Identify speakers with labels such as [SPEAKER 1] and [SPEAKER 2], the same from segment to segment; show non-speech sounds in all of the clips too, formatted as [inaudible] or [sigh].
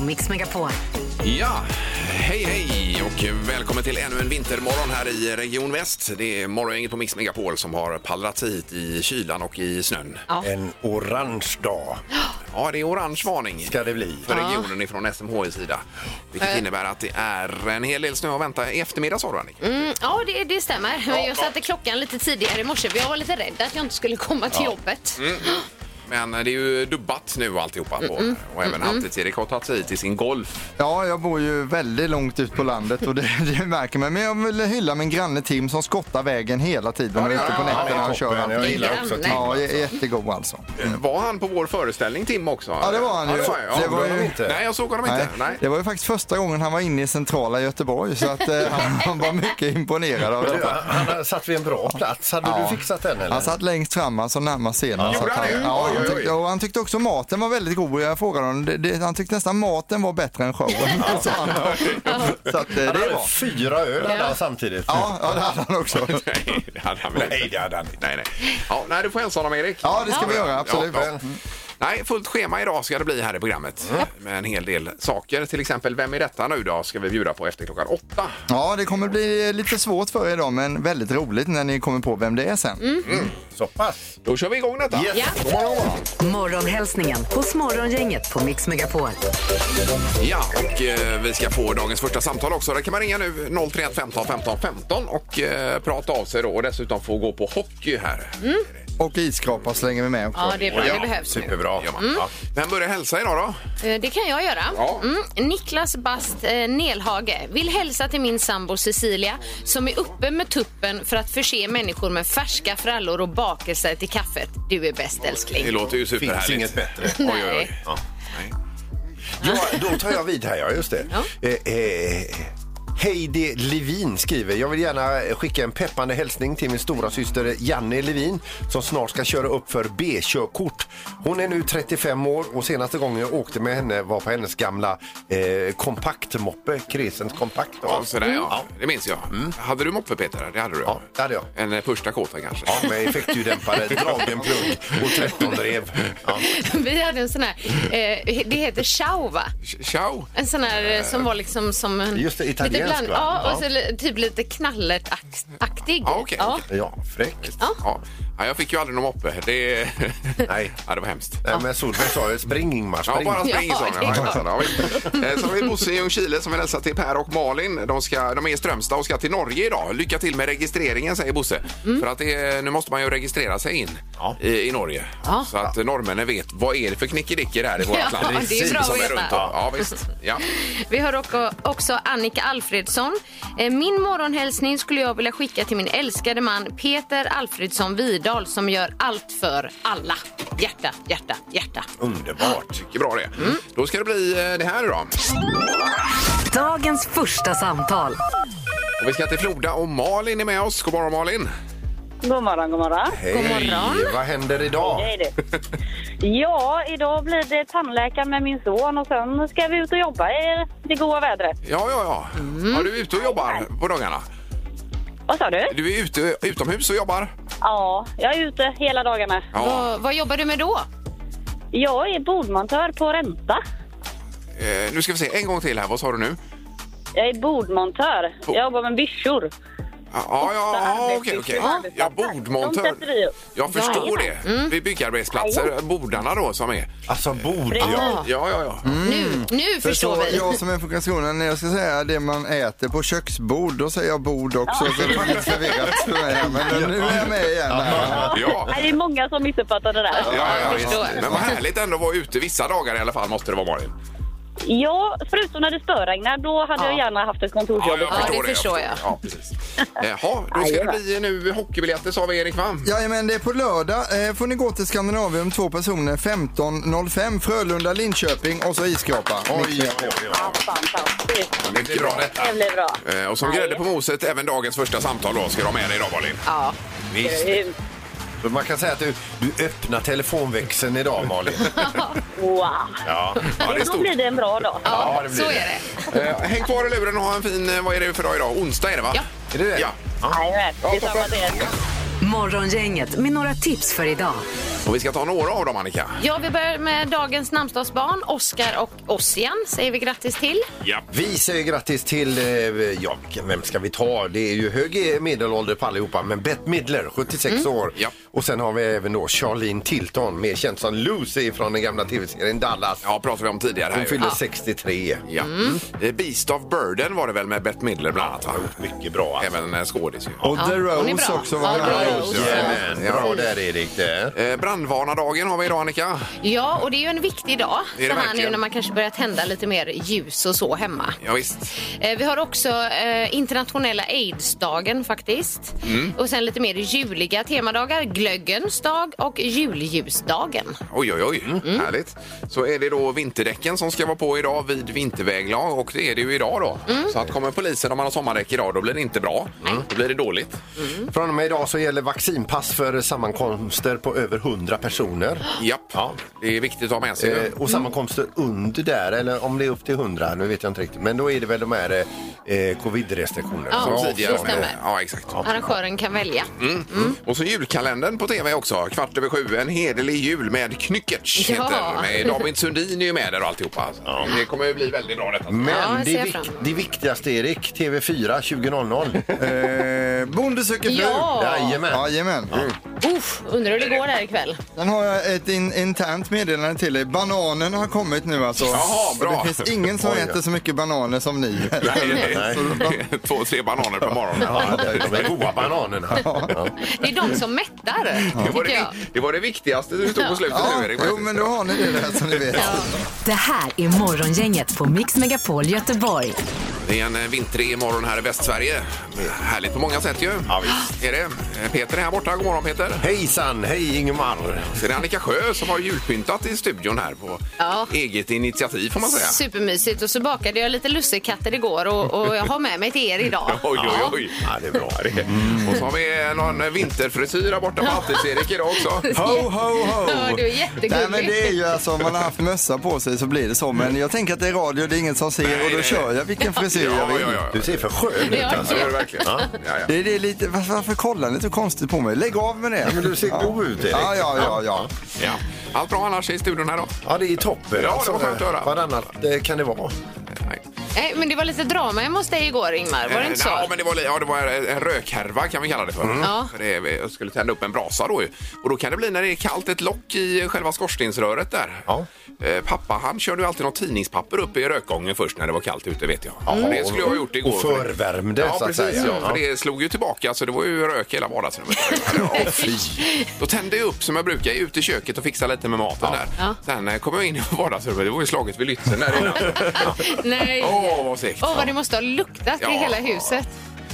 [SPEAKER 1] Mix Megapol.
[SPEAKER 2] Ja, hej hej och välkommen till ännu en vintermorgon här i Region Väst. Det är morgongänget på Mix Megapol som har pallrat hit i kylan och i snön.
[SPEAKER 1] Ja.
[SPEAKER 3] En orange dag
[SPEAKER 2] Ja, det är orange varning
[SPEAKER 3] ska det bli.
[SPEAKER 2] för regionen ifrån SMHI sida. Vilket innebär att det är en hel del snö att vänta i eftermiddag sa du Annika.
[SPEAKER 4] Mm, ja, det, det stämmer. Men jag satte klockan lite tidigare i morse för jag var lite rädd att jag inte skulle komma till jobbet.
[SPEAKER 2] Men det är ju dubbat nu alltihopa på. Och även Halvtids-Erik har tagit sig hit i sin Golf.
[SPEAKER 5] Ja, jag bor ju väldigt långt ut på landet och det, [laughs] det märker man. Men jag vill hylla min granne Tim som skottar vägen hela tiden och ute på
[SPEAKER 3] Han är
[SPEAKER 5] nätterna och kör.
[SPEAKER 3] toppen.
[SPEAKER 5] han.
[SPEAKER 3] Jag gillar också
[SPEAKER 4] Granne.
[SPEAKER 3] Tim.
[SPEAKER 5] Ja,
[SPEAKER 3] alltså.
[SPEAKER 5] j- jättegod alltså.
[SPEAKER 2] Var han på vår föreställning Tim också?
[SPEAKER 5] Ja, det var han ju.
[SPEAKER 2] det var, ja.
[SPEAKER 5] Det var
[SPEAKER 3] ju- inte.
[SPEAKER 2] Nej, jag såg honom
[SPEAKER 5] Nej,
[SPEAKER 2] inte. Nej. [laughs]
[SPEAKER 5] det var ju faktiskt första gången han var inne i centrala Göteborg så att, eh, han, han var mycket imponerad av
[SPEAKER 3] Du,
[SPEAKER 5] detta.
[SPEAKER 3] Han har satt vid en bra plats. Hade du fixat den eller?
[SPEAKER 5] Han satt längst fram, alltså närmast scenen.
[SPEAKER 2] Gjorde
[SPEAKER 5] satt
[SPEAKER 2] han det?
[SPEAKER 5] Ja,
[SPEAKER 2] Oj,
[SPEAKER 5] han,
[SPEAKER 2] oj, oj.
[SPEAKER 5] tyckte, och han tyckte också maten var väldigt god. Jag frågade honom, det, det, han tyckte nästan maten var bättre än showen. [laughs] sa han. så att, eh, det
[SPEAKER 3] Han hade
[SPEAKER 5] var.
[SPEAKER 3] fyra öl hade han samtidigt.
[SPEAKER 5] Ja, ja, det hade han också.
[SPEAKER 2] Nej, det hade han väl inte.
[SPEAKER 3] Nej, det hade han inte.
[SPEAKER 2] Nej, nej. Ja, nej, du får hälsa honom, Erik.
[SPEAKER 5] Ja, det ska vi göra, absolut. Mm.
[SPEAKER 2] Nej, fullt schema idag ska det bli här i programmet. Med en hel del saker. Till exempel, vem är detta nu då? Ska vi bjuda på efter klockan åtta.
[SPEAKER 5] Ja, det kommer bli lite svårt för er idag, men väldigt roligt när ni kommer på vem det är sen.
[SPEAKER 4] Mm.
[SPEAKER 3] Så pass.
[SPEAKER 2] Då kör vi igång detta.
[SPEAKER 3] Yes.
[SPEAKER 4] Ja.
[SPEAKER 2] God morgon, god morgon.
[SPEAKER 1] Morgonhälsningen hos Morgongänget på Mix Megapol.
[SPEAKER 2] Ja, och eh, vi ska få dagens första samtal också. Där kan man ringa nu 031 15 15 15 och eh, prata av sig då. Och dessutom få gå på hockey här.
[SPEAKER 5] Och isskrapa slänger vi med också.
[SPEAKER 4] Ja, Mm, det är bra.
[SPEAKER 3] Ja,
[SPEAKER 4] Det behövs nu. Mm.
[SPEAKER 3] Superbra.
[SPEAKER 2] Gör man. Ja. Vem börjar hälsa idag då?
[SPEAKER 4] Eh, Det kan jag göra.
[SPEAKER 2] Ja.
[SPEAKER 4] Mm. Niklas Bast eh, Nelhage vill hälsa till min sambo Cecilia som är uppe med tuppen för att förse människor med färska frallor och bakelser till kaffet. Du är bäst älskling.
[SPEAKER 2] Det låter ju superhärligt.
[SPEAKER 3] Finns inget bättre.
[SPEAKER 2] Oj, oj, oj.
[SPEAKER 4] Nej.
[SPEAKER 2] Ja. Nej.
[SPEAKER 3] Ja, då tar jag vid här, ja. Just det.
[SPEAKER 4] Ja.
[SPEAKER 3] Eh, eh, Heidi Levin skriver, jag vill gärna skicka en peppande hälsning till min stora syster Janne Levin som snart ska köra upp för B-körkort. Hon är nu 35 år och senaste gången jag åkte med henne var på hennes gamla eh, kompaktmoppe, Kresens kompakt. då.
[SPEAKER 2] Ja, sådär, ja. Det minns jag. Hade du moppe, Peter? Det hade du?
[SPEAKER 3] Ja, det hade jag.
[SPEAKER 2] En eh, första kåta kanske?
[SPEAKER 3] Ja, med effektljuddämpare, dragen plugg och 13 drev. Ja.
[SPEAKER 4] Vi hade en sån här, eh, det heter chow va?
[SPEAKER 2] Ch- Ciao!
[SPEAKER 4] En sån här eh, som var liksom som en...
[SPEAKER 3] Just det, italiensk,
[SPEAKER 4] lite bland,
[SPEAKER 3] va?
[SPEAKER 4] Ja, och så
[SPEAKER 3] Ja.
[SPEAKER 4] li- typ lite knallertaktig.
[SPEAKER 2] Ja, okej,
[SPEAKER 4] ja.
[SPEAKER 2] okej.
[SPEAKER 3] Ja, fräckt.
[SPEAKER 4] Ja.
[SPEAKER 2] Ja. Ja, jag fick ju aldrig någon moppe. [laughs] Det...
[SPEAKER 3] Nej.
[SPEAKER 2] ja, det var hemskt.
[SPEAKER 3] Nej, men Solveig sa ju spring Ingmar,
[SPEAKER 2] Ja,
[SPEAKER 3] spring.
[SPEAKER 2] bara spring
[SPEAKER 4] Ja,
[SPEAKER 2] sa
[SPEAKER 4] det är klart.
[SPEAKER 2] Sen Eh, har vi Bosse i Ljungskile som vill hälsa till Per och Malin. De, ska, de är i Strömstad och ska till Norge idag. Lycka till med registreringen säger Bosse.
[SPEAKER 4] Mm.
[SPEAKER 2] För att det, är- nu måste man ju registrera sig in
[SPEAKER 3] Ja.
[SPEAKER 2] i, i Norge.
[SPEAKER 4] Ja.
[SPEAKER 2] Så att norrmännen vet vad är det för knickedicker här i vårt
[SPEAKER 4] Ja,
[SPEAKER 2] land.
[SPEAKER 4] det är bra
[SPEAKER 2] Som
[SPEAKER 4] att veta.
[SPEAKER 2] runt om. Ja, visst. Ja.
[SPEAKER 4] [laughs] Vi har också- också Annika Alfredsson. Eh, Min morgonhälsning skulle jag vilja skicka till min älskade man Peter Alfredsson Vidal som gör allt för alla. Hjärta, hjärta, hjärta.
[SPEAKER 3] Underbart.
[SPEAKER 2] Mycket bra det. Mm. Då ska det bli eh, det här idag.
[SPEAKER 1] Dagens första samtal.
[SPEAKER 2] Och vi ska till Floda och Malin är med oss. God morgon Malin!
[SPEAKER 6] God morgon, god morgon.
[SPEAKER 3] Hej,
[SPEAKER 4] God morgon.
[SPEAKER 3] vad händer idag?
[SPEAKER 6] Hej du. [laughs] Ja, idag blir det tandläkare med min son och sen ska vi ut och jobba i det goda vädret.
[SPEAKER 2] Ja, ja, ja. ja. Du är ute och jobbar på dagarna.
[SPEAKER 6] Vad sa du?
[SPEAKER 2] Du är ute utomhus och jobbar.
[SPEAKER 6] Ja, jag är ute hela dagarna.
[SPEAKER 2] Ja.
[SPEAKER 4] Vad, vad jobbar du med då?
[SPEAKER 6] Jag är bordmontör på ränta.
[SPEAKER 2] Eh, nu ska vi se, en gång till här. Vad sa du nu?
[SPEAKER 6] Jag är bordmontör. Jag jobbar med byssor.
[SPEAKER 2] Ja, ja, ja Ah, okej, okej. Ja,
[SPEAKER 6] De
[SPEAKER 2] bordmontör.
[SPEAKER 6] sätter vi upp.
[SPEAKER 2] Jag förstår det. Vid byggarbetsplatser, bordarna då som är.
[SPEAKER 3] Alltså bord, ja.
[SPEAKER 4] Ja.
[SPEAKER 2] Ja, ja, ja.
[SPEAKER 4] Nu, nu förstår
[SPEAKER 5] Så
[SPEAKER 4] vi.
[SPEAKER 5] jag som är på Karlskrona, när jag ska säga det man äter på köksbord, då säger jag bord också. Så det var lite förvirrat för mig. här, Men nu är jag med igen. Här.
[SPEAKER 2] Ja.
[SPEAKER 6] Nej, det är många som missuppfattar det där.
[SPEAKER 2] Ja, ja,
[SPEAKER 4] jag
[SPEAKER 2] visst.
[SPEAKER 4] förstår.
[SPEAKER 2] Men vad härligt ändå att vara ute vissa dagar i alla fall måste det vara Malin.
[SPEAKER 6] Ja, förutom när det spöregnar. Då hade
[SPEAKER 4] Ja.
[SPEAKER 6] jag gärna haft ett kontorsjobb.
[SPEAKER 4] Ja, det förstår jag.
[SPEAKER 2] Ja, precis. Jaha, då ska det bli nu hockeybiljetter sa vi Erik va?
[SPEAKER 5] Jajamän, det är på lördag. Eh, får ni gå till Skandinavium, två personer, 15.05 Frölunda, Linköping och så isskrapa.
[SPEAKER 3] Oj, oj, oj.
[SPEAKER 6] Ja, fantastiskt.
[SPEAKER 2] Det blir bra detta.
[SPEAKER 6] Det blir bra.
[SPEAKER 2] Eh, Och som grädde på moset, även dagens första samtal då ska de med dig idag Malin.
[SPEAKER 4] Ja.
[SPEAKER 2] Visst.
[SPEAKER 3] Så Man kan säga att du, du öppnar telefonväxeln idag, [laughs] Malin.
[SPEAKER 6] Wow.
[SPEAKER 3] Ja,
[SPEAKER 2] Ja, det är
[SPEAKER 6] Då
[SPEAKER 2] stort.
[SPEAKER 6] blir det en bra dag.
[SPEAKER 3] ja det
[SPEAKER 4] Så är det.
[SPEAKER 2] Eh, Häng kvar i luren och ha en fin, eh, vad är det för dag idag? Onsdag är det va?
[SPEAKER 4] Ja.
[SPEAKER 3] Är det det?
[SPEAKER 2] Ja.
[SPEAKER 6] Jajamän, detsamma till er.
[SPEAKER 1] Morgongänget med några tips för idag.
[SPEAKER 2] Och vi ska ta några av dem, Annika.
[SPEAKER 4] Ja, vi börjar med dagens namnsdagsbarn, Oskar och Ossian, säger vi grattis till.
[SPEAKER 2] Ja.
[SPEAKER 3] Vi säger grattis till, eh, ja, vilken- vem ska vi ta? Det är ju hög medelålder på allihopa, men Bette Midler, 76 år.
[SPEAKER 2] Ja.
[SPEAKER 3] Och sen har vi även då Charlene Tilton, mer känd som Lucy från den gamla tv-serien Dallas.
[SPEAKER 2] Ja, pratade vi om tidigare. här
[SPEAKER 3] Hon
[SPEAKER 2] ju.
[SPEAKER 3] fyller 63.
[SPEAKER 2] Ja.
[SPEAKER 4] Mm.
[SPEAKER 2] Eh, Beast of Burden var det väl med Bette Midler bland annat? va?
[SPEAKER 3] Mycket bra alltså.
[SPEAKER 2] Även en skådis ju.
[SPEAKER 5] Och The
[SPEAKER 4] hon är
[SPEAKER 5] Rose
[SPEAKER 4] bra.
[SPEAKER 5] också var
[SPEAKER 4] Ja,
[SPEAKER 5] med.
[SPEAKER 4] The Rose.
[SPEAKER 3] Jajamän, bra där Erik. Det.
[SPEAKER 2] Eh, Brandvarnardagen har vi idag, Annika.
[SPEAKER 4] Ja, och det är ju en viktig dag.
[SPEAKER 2] Det är det
[SPEAKER 4] så här nu
[SPEAKER 2] verkligen.
[SPEAKER 4] när man kanske börjar tända lite mer ljus och så hemma.
[SPEAKER 2] Ja, visst.
[SPEAKER 4] Eh, Vi har också eh, internationella aidsdagen faktiskt.
[SPEAKER 2] Mm.
[SPEAKER 4] Och sen lite mer juliga temadagar, glöggens dag och julljusdagen.
[SPEAKER 2] Oj, oj, oj. Härligt. Så är det då vinterdäcken som ska vara på idag vid vinterväglag och det är det ju idag då. Så att kommer polisen om man har sommardäck idag då blir det inte bra. Då blir det dåligt.
[SPEAKER 3] Från och med idag så gäller vaccinpass för sammankomster på över 100 personer.
[SPEAKER 2] Japp.
[SPEAKER 3] Ja.
[SPEAKER 2] Det är viktigt att ha med sig.
[SPEAKER 3] Eh, och
[SPEAKER 2] Mm.
[SPEAKER 3] sammankomster under där, eller om det är upp till 100, nu vet jag inte riktigt. Men då är det väl de här eh, eh, covid-restriktionerna.
[SPEAKER 4] Ja,
[SPEAKER 3] som
[SPEAKER 4] precis,
[SPEAKER 3] avgör
[SPEAKER 4] det stämmer.
[SPEAKER 2] Ja, Mhm. exakt. Mm.
[SPEAKER 4] Arrangören kan välja.
[SPEAKER 2] Och så julkalendern på tv också. Kvart över sju, en hederlig jul med Knyckertz.
[SPEAKER 4] Ja.
[SPEAKER 2] heter den. Med David Sundin är ju med där och alltihopa. Det kommer ju bli väldigt bra detta.
[SPEAKER 3] Men
[SPEAKER 4] Ja, det ser
[SPEAKER 3] det,
[SPEAKER 4] jag
[SPEAKER 3] vik-
[SPEAKER 4] fram emot.
[SPEAKER 3] det viktigaste Erik, TV4
[SPEAKER 2] [laughs]
[SPEAKER 3] 20.00.
[SPEAKER 5] Eh, bonde söker fru.
[SPEAKER 4] Ja!
[SPEAKER 3] Jajamän.
[SPEAKER 5] Jajamän.
[SPEAKER 4] Uff, undrar hur det går där ikväll.
[SPEAKER 5] Sen har jag ett in, internt meddelande till dig. Bananen har kommit nu alltså.
[SPEAKER 2] Jaha,
[SPEAKER 5] Så
[SPEAKER 2] bra.
[SPEAKER 5] Det finns ingen som
[SPEAKER 3] Oj, ja.
[SPEAKER 5] äter så mycket bananer som ni.
[SPEAKER 2] Nej. [laughs] Två, tre bananer per morgon.
[SPEAKER 3] Ja, de är goda bananerna. Ja.
[SPEAKER 4] Det är de som mättar,
[SPEAKER 2] Det var
[SPEAKER 4] tycker
[SPEAKER 2] det,
[SPEAKER 4] jag.
[SPEAKER 2] det var det viktigaste du stod på slutet
[SPEAKER 5] Ja,
[SPEAKER 2] nu, Erik.
[SPEAKER 5] jo, men då har ni det där som ni vet.
[SPEAKER 1] Det här är Morgongänget på Mix Megapol Göteborg.
[SPEAKER 2] Det är en eh, vintrig morgon här i Västsverige. Härligt på många sätt ju. Ja, visst. Är det? Eh, Peter är här borta. God morgon Peter.
[SPEAKER 3] Hejsan, hej Ingemar.
[SPEAKER 2] Så är det Annika Sjö som har julpyntat i studion här på
[SPEAKER 4] Ja.
[SPEAKER 2] eget initiativ får man säga.
[SPEAKER 4] Supermysigt. Och så bakade jag lite lussekatter igår och, och jag har med mig till er idag.
[SPEAKER 2] [laughs] [laughs] Oj, oj, oj.
[SPEAKER 3] Ja, det är bra.
[SPEAKER 2] Det. Och så har vi någon vinterfrisyr här borta på Halvtids-Erik idag också.
[SPEAKER 5] Ho, ho, ho!
[SPEAKER 4] Ja, du är
[SPEAKER 5] Nej, men
[SPEAKER 4] jättegullig.
[SPEAKER 5] det är ju alltså, om man har haft mössa på sig så blir det så. Men jag tänker att det är radio, det är ingen som ser
[SPEAKER 2] Nej,
[SPEAKER 5] och då
[SPEAKER 2] nej.
[SPEAKER 5] kör jag vilken frisyr jag
[SPEAKER 2] Ja,
[SPEAKER 5] vill.
[SPEAKER 2] ja, ja.
[SPEAKER 3] Du ser för skön ut
[SPEAKER 4] Ja,
[SPEAKER 2] Så
[SPEAKER 3] alltså.
[SPEAKER 2] är det verkligen. Ja, ja.
[SPEAKER 5] Det är det är lite, varför, varför kollar ni så konstigt på mig? Lägg av med det.
[SPEAKER 3] Men du ser god ut Erik.
[SPEAKER 5] Ja, ja, ja, ja.
[SPEAKER 2] Ja. Allt bra annars i studion här då?
[SPEAKER 3] Ja, det är toppen.
[SPEAKER 2] Ja, det var skönt att höra.
[SPEAKER 3] Varannat eh, kan det vara.
[SPEAKER 2] Nej.
[SPEAKER 4] Nej, Eh, men det var lite drama hemma hos dig igår, Ingmar. Var det inte så?
[SPEAKER 2] Ja, Eh, men det var, li- ja, det var en rökhärva kan vi kalla det för.
[SPEAKER 4] Ja.
[SPEAKER 2] för det, är- jag skulle tända upp en brasa då ju. Och då kan det bli när det är kallt ett lock i själva skorstensröret där.
[SPEAKER 3] Ja.
[SPEAKER 2] Eh, Pappa han körde ju alltid något tidningspapper upp i rökgången först när det var kallt ute vet jag. Det skulle jag ha gjort igår.
[SPEAKER 3] Och
[SPEAKER 2] för det-
[SPEAKER 3] förvärmde
[SPEAKER 2] Ja,
[SPEAKER 3] så att
[SPEAKER 2] precis.
[SPEAKER 3] säga.
[SPEAKER 2] Ja, för det slog ju tillbaka så det var ju rök i hela vardagsrummet.
[SPEAKER 3] [laughs]
[SPEAKER 2] Ja, fy. Då tände jag upp som jag brukar, ut i köket och fixa lite med maten där.
[SPEAKER 4] Ja.
[SPEAKER 2] Sen eh, kom jag in i vardagsrummet, det var ju slaget vid Lützen där
[SPEAKER 4] [laughs]
[SPEAKER 2] innan.
[SPEAKER 4] Nej.
[SPEAKER 2] Åh, vad segt.
[SPEAKER 4] Åh, vad det måste ha luktat
[SPEAKER 2] Ja.
[SPEAKER 4] i hela huset.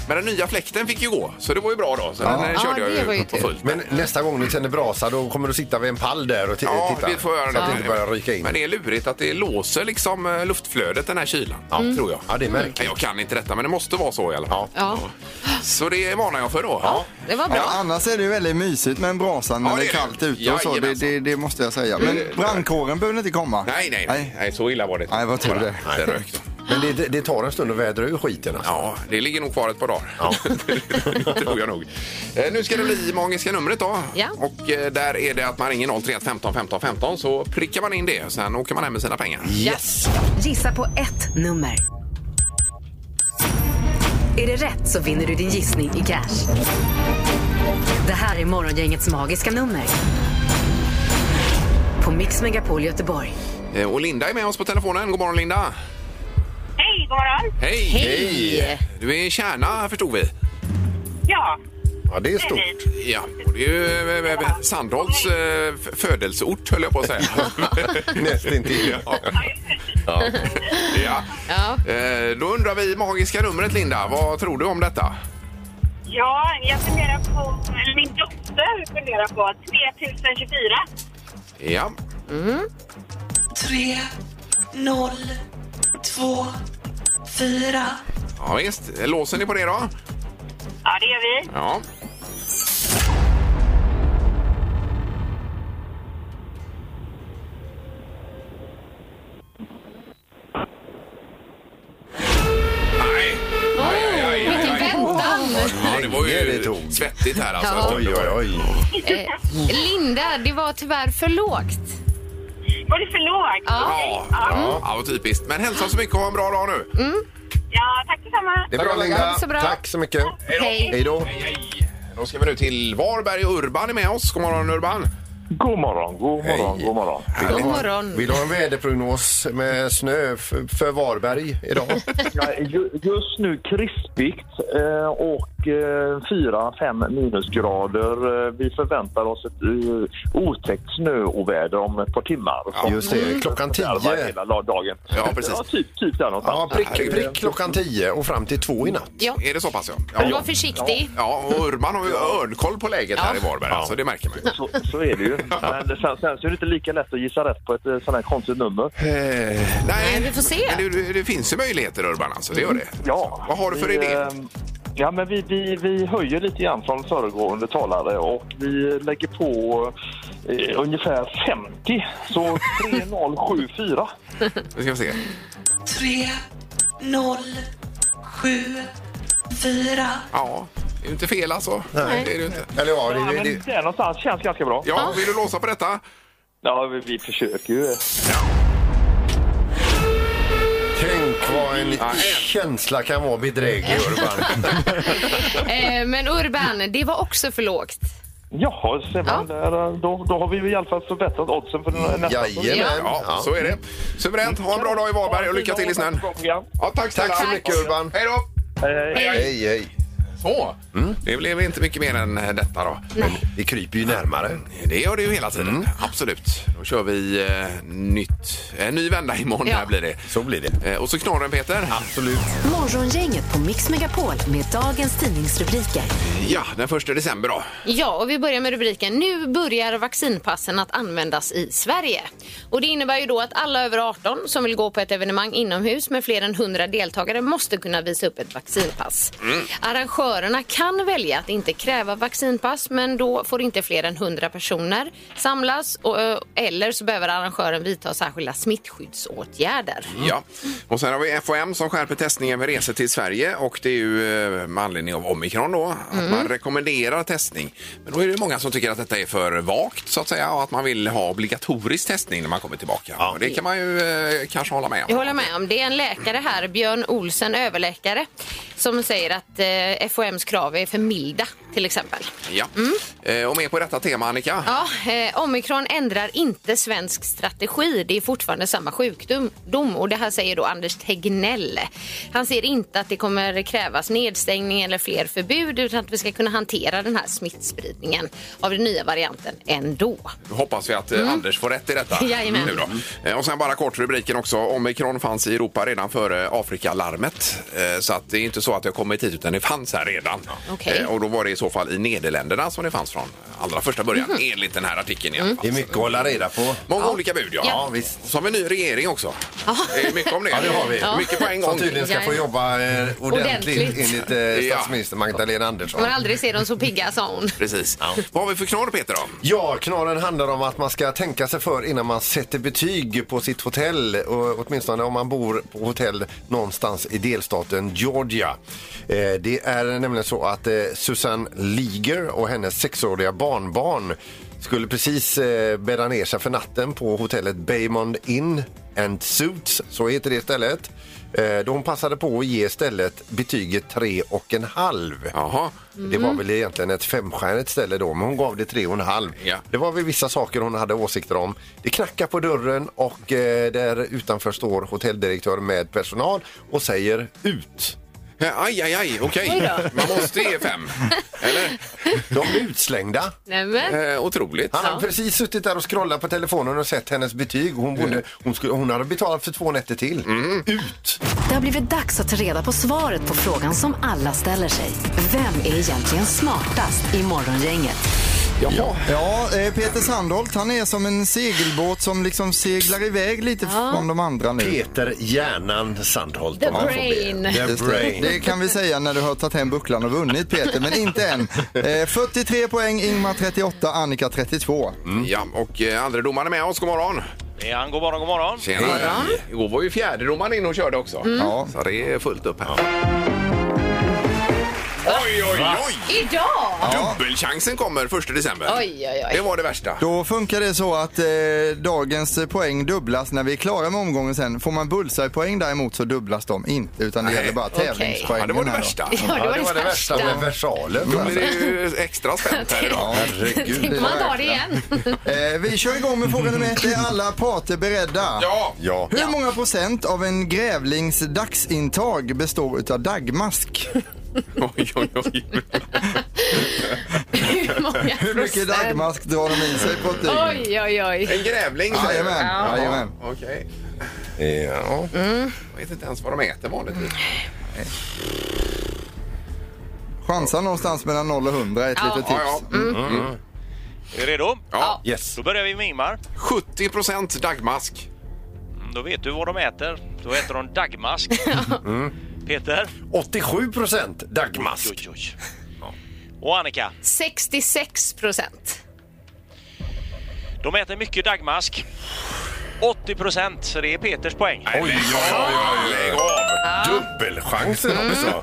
[SPEAKER 2] Men den nya fläkten fick ju gå, så det var ju bra då. Så den eh,
[SPEAKER 4] Ja,
[SPEAKER 2] körde
[SPEAKER 4] det
[SPEAKER 2] jag
[SPEAKER 4] var ju
[SPEAKER 2] ju på
[SPEAKER 4] tur.
[SPEAKER 2] fullt.
[SPEAKER 3] Men eh, nästa gång du tänder brasa då kommer du sitta vid en pall där och ti-
[SPEAKER 2] Ja,
[SPEAKER 3] titta.
[SPEAKER 2] det får jag
[SPEAKER 3] så att
[SPEAKER 2] göra
[SPEAKER 3] det
[SPEAKER 2] nu.
[SPEAKER 3] inte börjar ryka in.
[SPEAKER 2] Men det är lurigt att det låser liksom eh, luftflödet den här kylan,
[SPEAKER 4] Mm.
[SPEAKER 2] tror jag.
[SPEAKER 3] Ja, det är märkligt.
[SPEAKER 2] Nej, Jag kan inte detta, men det måste vara så i alla fall.
[SPEAKER 4] Ja.
[SPEAKER 2] Så det varnar jag för då.
[SPEAKER 4] Det var
[SPEAKER 5] Ja,
[SPEAKER 4] bra.
[SPEAKER 5] annars är det ju väldigt mysigt med en brasa när
[SPEAKER 2] Ja,
[SPEAKER 5] det
[SPEAKER 2] det
[SPEAKER 5] är
[SPEAKER 2] är det.
[SPEAKER 5] kallt ute och så. Det,
[SPEAKER 2] Jajamensan.
[SPEAKER 5] det, det måste jag säga. Men brandkåren behöver inte komma.
[SPEAKER 2] Nej, nej, nej, nej, så illa var det inte.
[SPEAKER 5] Nej, vad tur det.
[SPEAKER 2] Bara lite rök då.
[SPEAKER 3] Men det, det tar en stund att vädra ur skiten. Alltså.
[SPEAKER 2] Ja, det ligger nog kvar ett par dagar. [laughs] tror jag nog. Eh, Nu ska det bli magiska numret då.
[SPEAKER 4] Ja.
[SPEAKER 2] Och eh, där är det att man ringer 031 15 15 15 så prickar man in det. Sen åker man hem med sina pengar.
[SPEAKER 3] Yes!
[SPEAKER 1] Gissa på ett nummer. Är det rätt så vinner du din gissning i cash. Det här är Morgongängets magiska nummer. På Mix Megapol Göteborg.
[SPEAKER 2] Eh, Och Linda är med oss på telefonen. God morgon Linda!
[SPEAKER 6] Hej, god morgon!
[SPEAKER 2] Hej!
[SPEAKER 4] Hej!
[SPEAKER 2] Du är i Kärna förstod vi.
[SPEAKER 6] Ja,
[SPEAKER 3] Ja, det är
[SPEAKER 6] det är
[SPEAKER 3] stort.
[SPEAKER 6] vi.
[SPEAKER 2] Ja, och det är ju eh, eh, Sandholts eh, f- födelseort höll jag på att säga.
[SPEAKER 3] Nästintill.
[SPEAKER 2] [laughs] ja. Ja.
[SPEAKER 4] Ja.
[SPEAKER 2] Eh, Då undrar vi magiska numret Linda. Vad tror du om detta?
[SPEAKER 6] Ja, jag funderar på, eller min dotter funderar på 3024.
[SPEAKER 2] Ja.
[SPEAKER 7] tre noll två fyra
[SPEAKER 2] Ja visst, låser ni på det då?
[SPEAKER 6] Ja, det gör vi.
[SPEAKER 2] Ja. Nej. Aj, aj, aj, aj,
[SPEAKER 4] Vilken
[SPEAKER 2] aj.
[SPEAKER 4] väntan!
[SPEAKER 2] Ja, det var
[SPEAKER 3] länge det
[SPEAKER 2] ju
[SPEAKER 3] tog.
[SPEAKER 2] svettigt här
[SPEAKER 4] Ja.
[SPEAKER 2] alltså.
[SPEAKER 3] Oj, oj, oj.
[SPEAKER 4] Eh, Linda, det var tyvärr för lågt.
[SPEAKER 6] Var det för lågt?
[SPEAKER 4] Ja.
[SPEAKER 2] Ja, ja, ja, vad typiskt. Men hälsa så mycket och ha en bra dag nu.
[SPEAKER 4] Mm.
[SPEAKER 6] Ja, tack detsamma.
[SPEAKER 3] Det är bra,
[SPEAKER 4] Ha
[SPEAKER 3] Linda.
[SPEAKER 4] det så bra.
[SPEAKER 3] Tack så mycket.
[SPEAKER 4] Hej.
[SPEAKER 3] Hej då.
[SPEAKER 2] Hej, hej. Då ska vi nu till Varberg och Urban är med oss. God morgon Urban.
[SPEAKER 8] God morgon, god morgon, god morgon.
[SPEAKER 4] God morgon.
[SPEAKER 3] Vill du ha en väderprognos med snö f- för Varberg idag?
[SPEAKER 8] Ja, ju- Just nu krispigt eh, och 4-5 minusgrader. Eh, Vi förväntar oss ett eh, otäckt snöoväder om ett par timmar. Som
[SPEAKER 3] [laughs] Just det, Mm. klockan
[SPEAKER 8] varvar
[SPEAKER 3] 10.
[SPEAKER 8] Hela la- dagen.
[SPEAKER 2] Ja, precis.
[SPEAKER 8] Ja, typ, typ där någonstans.
[SPEAKER 3] Ja, prick, prick klockan 10 och fram till 2 i natt.
[SPEAKER 4] Ja,
[SPEAKER 2] Är det så pass ja?
[SPEAKER 4] var
[SPEAKER 2] Ja,
[SPEAKER 4] försiktig.
[SPEAKER 2] ja och Urban har ju örnkoll på läget här i Varberg alltså, det märker man ju.
[SPEAKER 8] Så, så är
[SPEAKER 3] [laughs]
[SPEAKER 8] det ju. Men sen, sen så är det inte lika lätt att gissa rätt på ett eh, sånt här konstigt nummer.
[SPEAKER 2] Nej,
[SPEAKER 4] vi får se.
[SPEAKER 2] Men det, det finns ju möjligheter Urban alltså, det gör det.
[SPEAKER 8] Ja.
[SPEAKER 2] Vad har du för
[SPEAKER 8] vi,
[SPEAKER 2] idé?
[SPEAKER 8] eh, Ja, men vi, vi, vi höjer lite grann från föregående talare och vi lägger på eh, ungefär 50. Så 3074.
[SPEAKER 2] Nu ska vi se.
[SPEAKER 7] tre, noll, sju, fyra.
[SPEAKER 2] Ja, det är ju inte fel alltså. Nej. Det är det ju inte.
[SPEAKER 3] Eller ja,
[SPEAKER 8] Ja,
[SPEAKER 3] det,
[SPEAKER 8] men
[SPEAKER 3] det,
[SPEAKER 8] där någonstans känns ganska bra.
[SPEAKER 2] Ja, vill du låsa på detta?
[SPEAKER 8] Ja, vi, vi försöker ju.
[SPEAKER 3] tänk vad en känsla kan vara bedräglig, [laughs] Urban.
[SPEAKER 4] Eh, Men Urban, det var också för lågt.
[SPEAKER 8] Jaha, ser man där, eh, då, då har vi i alla fall förbättrat oddsen för nästa.
[SPEAKER 3] Jajamän.
[SPEAKER 2] Ja,
[SPEAKER 3] Ja.
[SPEAKER 2] så är det. Suveränt. Ha en bra dag i Varberg och lycka till i snön.
[SPEAKER 8] Bra program.
[SPEAKER 2] Ja, tack snälla.
[SPEAKER 3] Tack så mycket, Urban.
[SPEAKER 2] Hej då!
[SPEAKER 8] Eh,
[SPEAKER 3] Hej, hej.
[SPEAKER 2] Så, det blev inte mycket mer än detta då.
[SPEAKER 3] Vi kryper ju närmare.
[SPEAKER 2] Det gör det ju hela tiden, absolut. Då kör vi eh, nytt, en ny vända imorgon
[SPEAKER 4] Ja.
[SPEAKER 2] här blir det.
[SPEAKER 3] Så blir det.
[SPEAKER 2] Eh, och så knorren Peter. Absolut.
[SPEAKER 1] Morgongänget på Mix Megapol med dagens tidningsrubriker.
[SPEAKER 2] Ja, den första december då.
[SPEAKER 4] Ja, och vi börjar med rubriken Nu börjar vaccinpassen att användas i Sverige. Och det innebär ju då att alla över 18 som vill gå på ett evenemang inomhus med fler än 100 deltagare måste kunna visa upp ett vaccinpass. Arrangörerna kan välja att inte kräva vaccinpass men då får inte fler än 100 personer samlas och, ö, eller så behöver arrangören vidta särskilda smittskyddsåtgärder.
[SPEAKER 2] Ja. Och sen har vi FOM som skärper testningen vid resor till Sverige och det är ju eh, med anledning av omikron då, att
[SPEAKER 4] Mm.
[SPEAKER 2] man rekommenderar testning. Men då är det många som tycker att detta är för vagt så att säga och att man vill ha obligatorisk testning när man kommer tillbaka. Och det kan man ju eh, kanske hålla med om.
[SPEAKER 4] Jag håller med om det. är en läkare här, Björn Olsen, överläkare, som säger att eh, FOMs krav är för milda, till exempel.
[SPEAKER 2] Ja.
[SPEAKER 4] Mm.
[SPEAKER 2] Eh, och mer på detta tema Annika.
[SPEAKER 4] Ja, eh, omikron ändrar inte svensk strategi. Det är fortfarande samma sjukdom. dom. Och det här säger då Anders Tegnell. Han ser inte att det kommer krävas nedstängning eller fler förbud utan att vi ska kunna hantera den här smittspridningen av den nya varianten ändå.
[SPEAKER 2] Nu hoppas vi att eh, Anders får rätt i detta.
[SPEAKER 4] Jajamän.
[SPEAKER 2] Nu då. Eh, Och sen bara kort rubriken också. Omikron fanns i Europa redan före Afrikalarmet. Eh, Så att det är inte så att det har kommit hit utan det fanns här redan.
[SPEAKER 4] Okej.
[SPEAKER 2] Eh, Och då var det i så fall i Nederländerna som det fanns från allra första början enligt den här artikeln i alla fall.
[SPEAKER 3] Det är mycket att hålla reda på.
[SPEAKER 2] Många olika bud ja.
[SPEAKER 4] Ja,
[SPEAKER 3] visst.
[SPEAKER 2] Så har vi en ny regering också. Det är mycket om det.
[SPEAKER 3] Ja, det har vi. Ja.
[SPEAKER 2] Mycket på en
[SPEAKER 3] Som
[SPEAKER 2] gång.
[SPEAKER 3] tydligen ska få jobba eh, ordentligt
[SPEAKER 4] Ordentligt.
[SPEAKER 3] enligt eh,
[SPEAKER 2] Ja.
[SPEAKER 3] statsminister Magdalena Andersson.
[SPEAKER 4] Man aldrig ser dem så pigga, sa hon.
[SPEAKER 2] Precis. Vad har vi för knorr Peter då?
[SPEAKER 3] Ja, knaren handlar om att man ska tänka sig för innan man sätter betyg på sitt hotell. Och åtminstone om man bor på hotell någonstans i delstaten Georgia. Eh, det är nämligen så att eh, Susanne Liger och hennes sexåriga barnbarn skulle precis eh, bädda ner sig för natten på hotellet Baymond Inn and Suits, så heter det stället. Eh, då hon passade på att ge stället betyget 3,5.
[SPEAKER 2] Jaha.
[SPEAKER 3] Det
[SPEAKER 4] Mm.
[SPEAKER 3] var väl egentligen ett femstjärnigt ställe då, men hon gav det tre och en halv.
[SPEAKER 2] Ja.
[SPEAKER 3] Det var väl vissa saker hon hade åsikter om. Det knackar på dörren och eh, där utanför står hotelldirektören med personal och säger ut.
[SPEAKER 2] Eh, Aj, aj, aj. Okej. Man måste ge fem. Eller?
[SPEAKER 3] De är utslängda.
[SPEAKER 4] Nämen.
[SPEAKER 2] Eh, otroligt.
[SPEAKER 3] Han hade precis suttit där och scrollat på telefonen och sett hennes betyg. Hon, borde,
[SPEAKER 2] Mm.
[SPEAKER 3] hon, skulle, hon hade betalat för två nätter till. Ut!
[SPEAKER 1] Det har blivit dags att ta reda på svaret på frågan som alla ställer sig. Vem är egentligen smartast i Morgongänget?
[SPEAKER 2] Jaha.
[SPEAKER 5] Ja, eh, Peter Sandholt han är som en segelbåt som liksom seglar iväg lite från de andra nu.
[SPEAKER 3] Peter Hjärnan Sandholt.
[SPEAKER 4] The
[SPEAKER 3] om man får be.
[SPEAKER 4] brain.
[SPEAKER 3] The
[SPEAKER 5] Just det.
[SPEAKER 3] brain.
[SPEAKER 5] det kan vi säga när du har tagit hem bucklan och vunnit Peter, men inte
[SPEAKER 2] [laughs]
[SPEAKER 5] än. Eh, 43 poäng, Ingmar 38, Annika 32.
[SPEAKER 2] Ja, och eh, andre domaren är med oss. God morgon!
[SPEAKER 9] Ja, god morgon, god morgon.
[SPEAKER 2] Tjena! Igår var ju fjärde domaren in och körde också.
[SPEAKER 5] Ja.
[SPEAKER 2] Så det är fullt upp här. Oj, oj, Oj!
[SPEAKER 4] Idag!
[SPEAKER 2] Dubbelchansen kommer 1 december.
[SPEAKER 4] Oj, oj, oj.
[SPEAKER 2] Det var det värsta.
[SPEAKER 5] Då funkar det så att eh, dagens poäng dubblas när vi är klara med omgången sen. Får man bullseye-poäng däremot så dubblas de inte utan det
[SPEAKER 2] Nej.
[SPEAKER 5] gäller bara
[SPEAKER 4] Okej.
[SPEAKER 5] tävlingspoängen.
[SPEAKER 2] Ja, det var det
[SPEAKER 5] här då.
[SPEAKER 2] värsta.
[SPEAKER 4] Ja, det var det, värsta.
[SPEAKER 3] med versalen.
[SPEAKER 2] Då blir det ju extra spänt
[SPEAKER 4] [laughs]
[SPEAKER 2] här idag.
[SPEAKER 5] Herregud.
[SPEAKER 4] Tänkte man ta det igen?
[SPEAKER 5] Eh, vi kör igång med fråga nummer ett. Är alla parter beredda?
[SPEAKER 2] Ja.
[SPEAKER 3] Ja.
[SPEAKER 5] Hur många procent av en grävlings dagsintag består utav dagmask?
[SPEAKER 2] Oj, oj, oj.
[SPEAKER 4] Hur
[SPEAKER 5] [laughs]
[SPEAKER 4] många
[SPEAKER 5] Hur mycket
[SPEAKER 4] procent?
[SPEAKER 5] dagmask drar de i sig på ett dygn?
[SPEAKER 4] Oj, oj, oj.
[SPEAKER 2] En grävling säger du?
[SPEAKER 5] Jajamän, jajamän.
[SPEAKER 2] Okej. Mm.
[SPEAKER 3] ja.
[SPEAKER 2] Jag vet inte ens vad de äter vanligtvis.
[SPEAKER 5] Chansa någonstans mellan 0 och 100 är ett
[SPEAKER 4] Ja.
[SPEAKER 5] litet
[SPEAKER 2] Ja,
[SPEAKER 5] tips.
[SPEAKER 2] ja. Mm.
[SPEAKER 9] Är du redo?
[SPEAKER 2] ja.
[SPEAKER 3] Yes.
[SPEAKER 9] Då börjar vi med Ingmar.
[SPEAKER 2] 70 procent dagmask.
[SPEAKER 9] Mm, Då vet du vad de äter. Då äter de
[SPEAKER 2] [laughs]
[SPEAKER 9] dagmask.
[SPEAKER 2] Mm.
[SPEAKER 9] Peter?
[SPEAKER 3] 87 procent dagmask.
[SPEAKER 9] Oj, oj. Ja. Och Annika?
[SPEAKER 4] 66 procent.
[SPEAKER 9] De äter mycket dagmask. 80 procent, så det är Peters poäng.
[SPEAKER 3] Oj, oj, oj, oj, oj. Dubbelchansen
[SPEAKER 2] Mm.
[SPEAKER 3] också.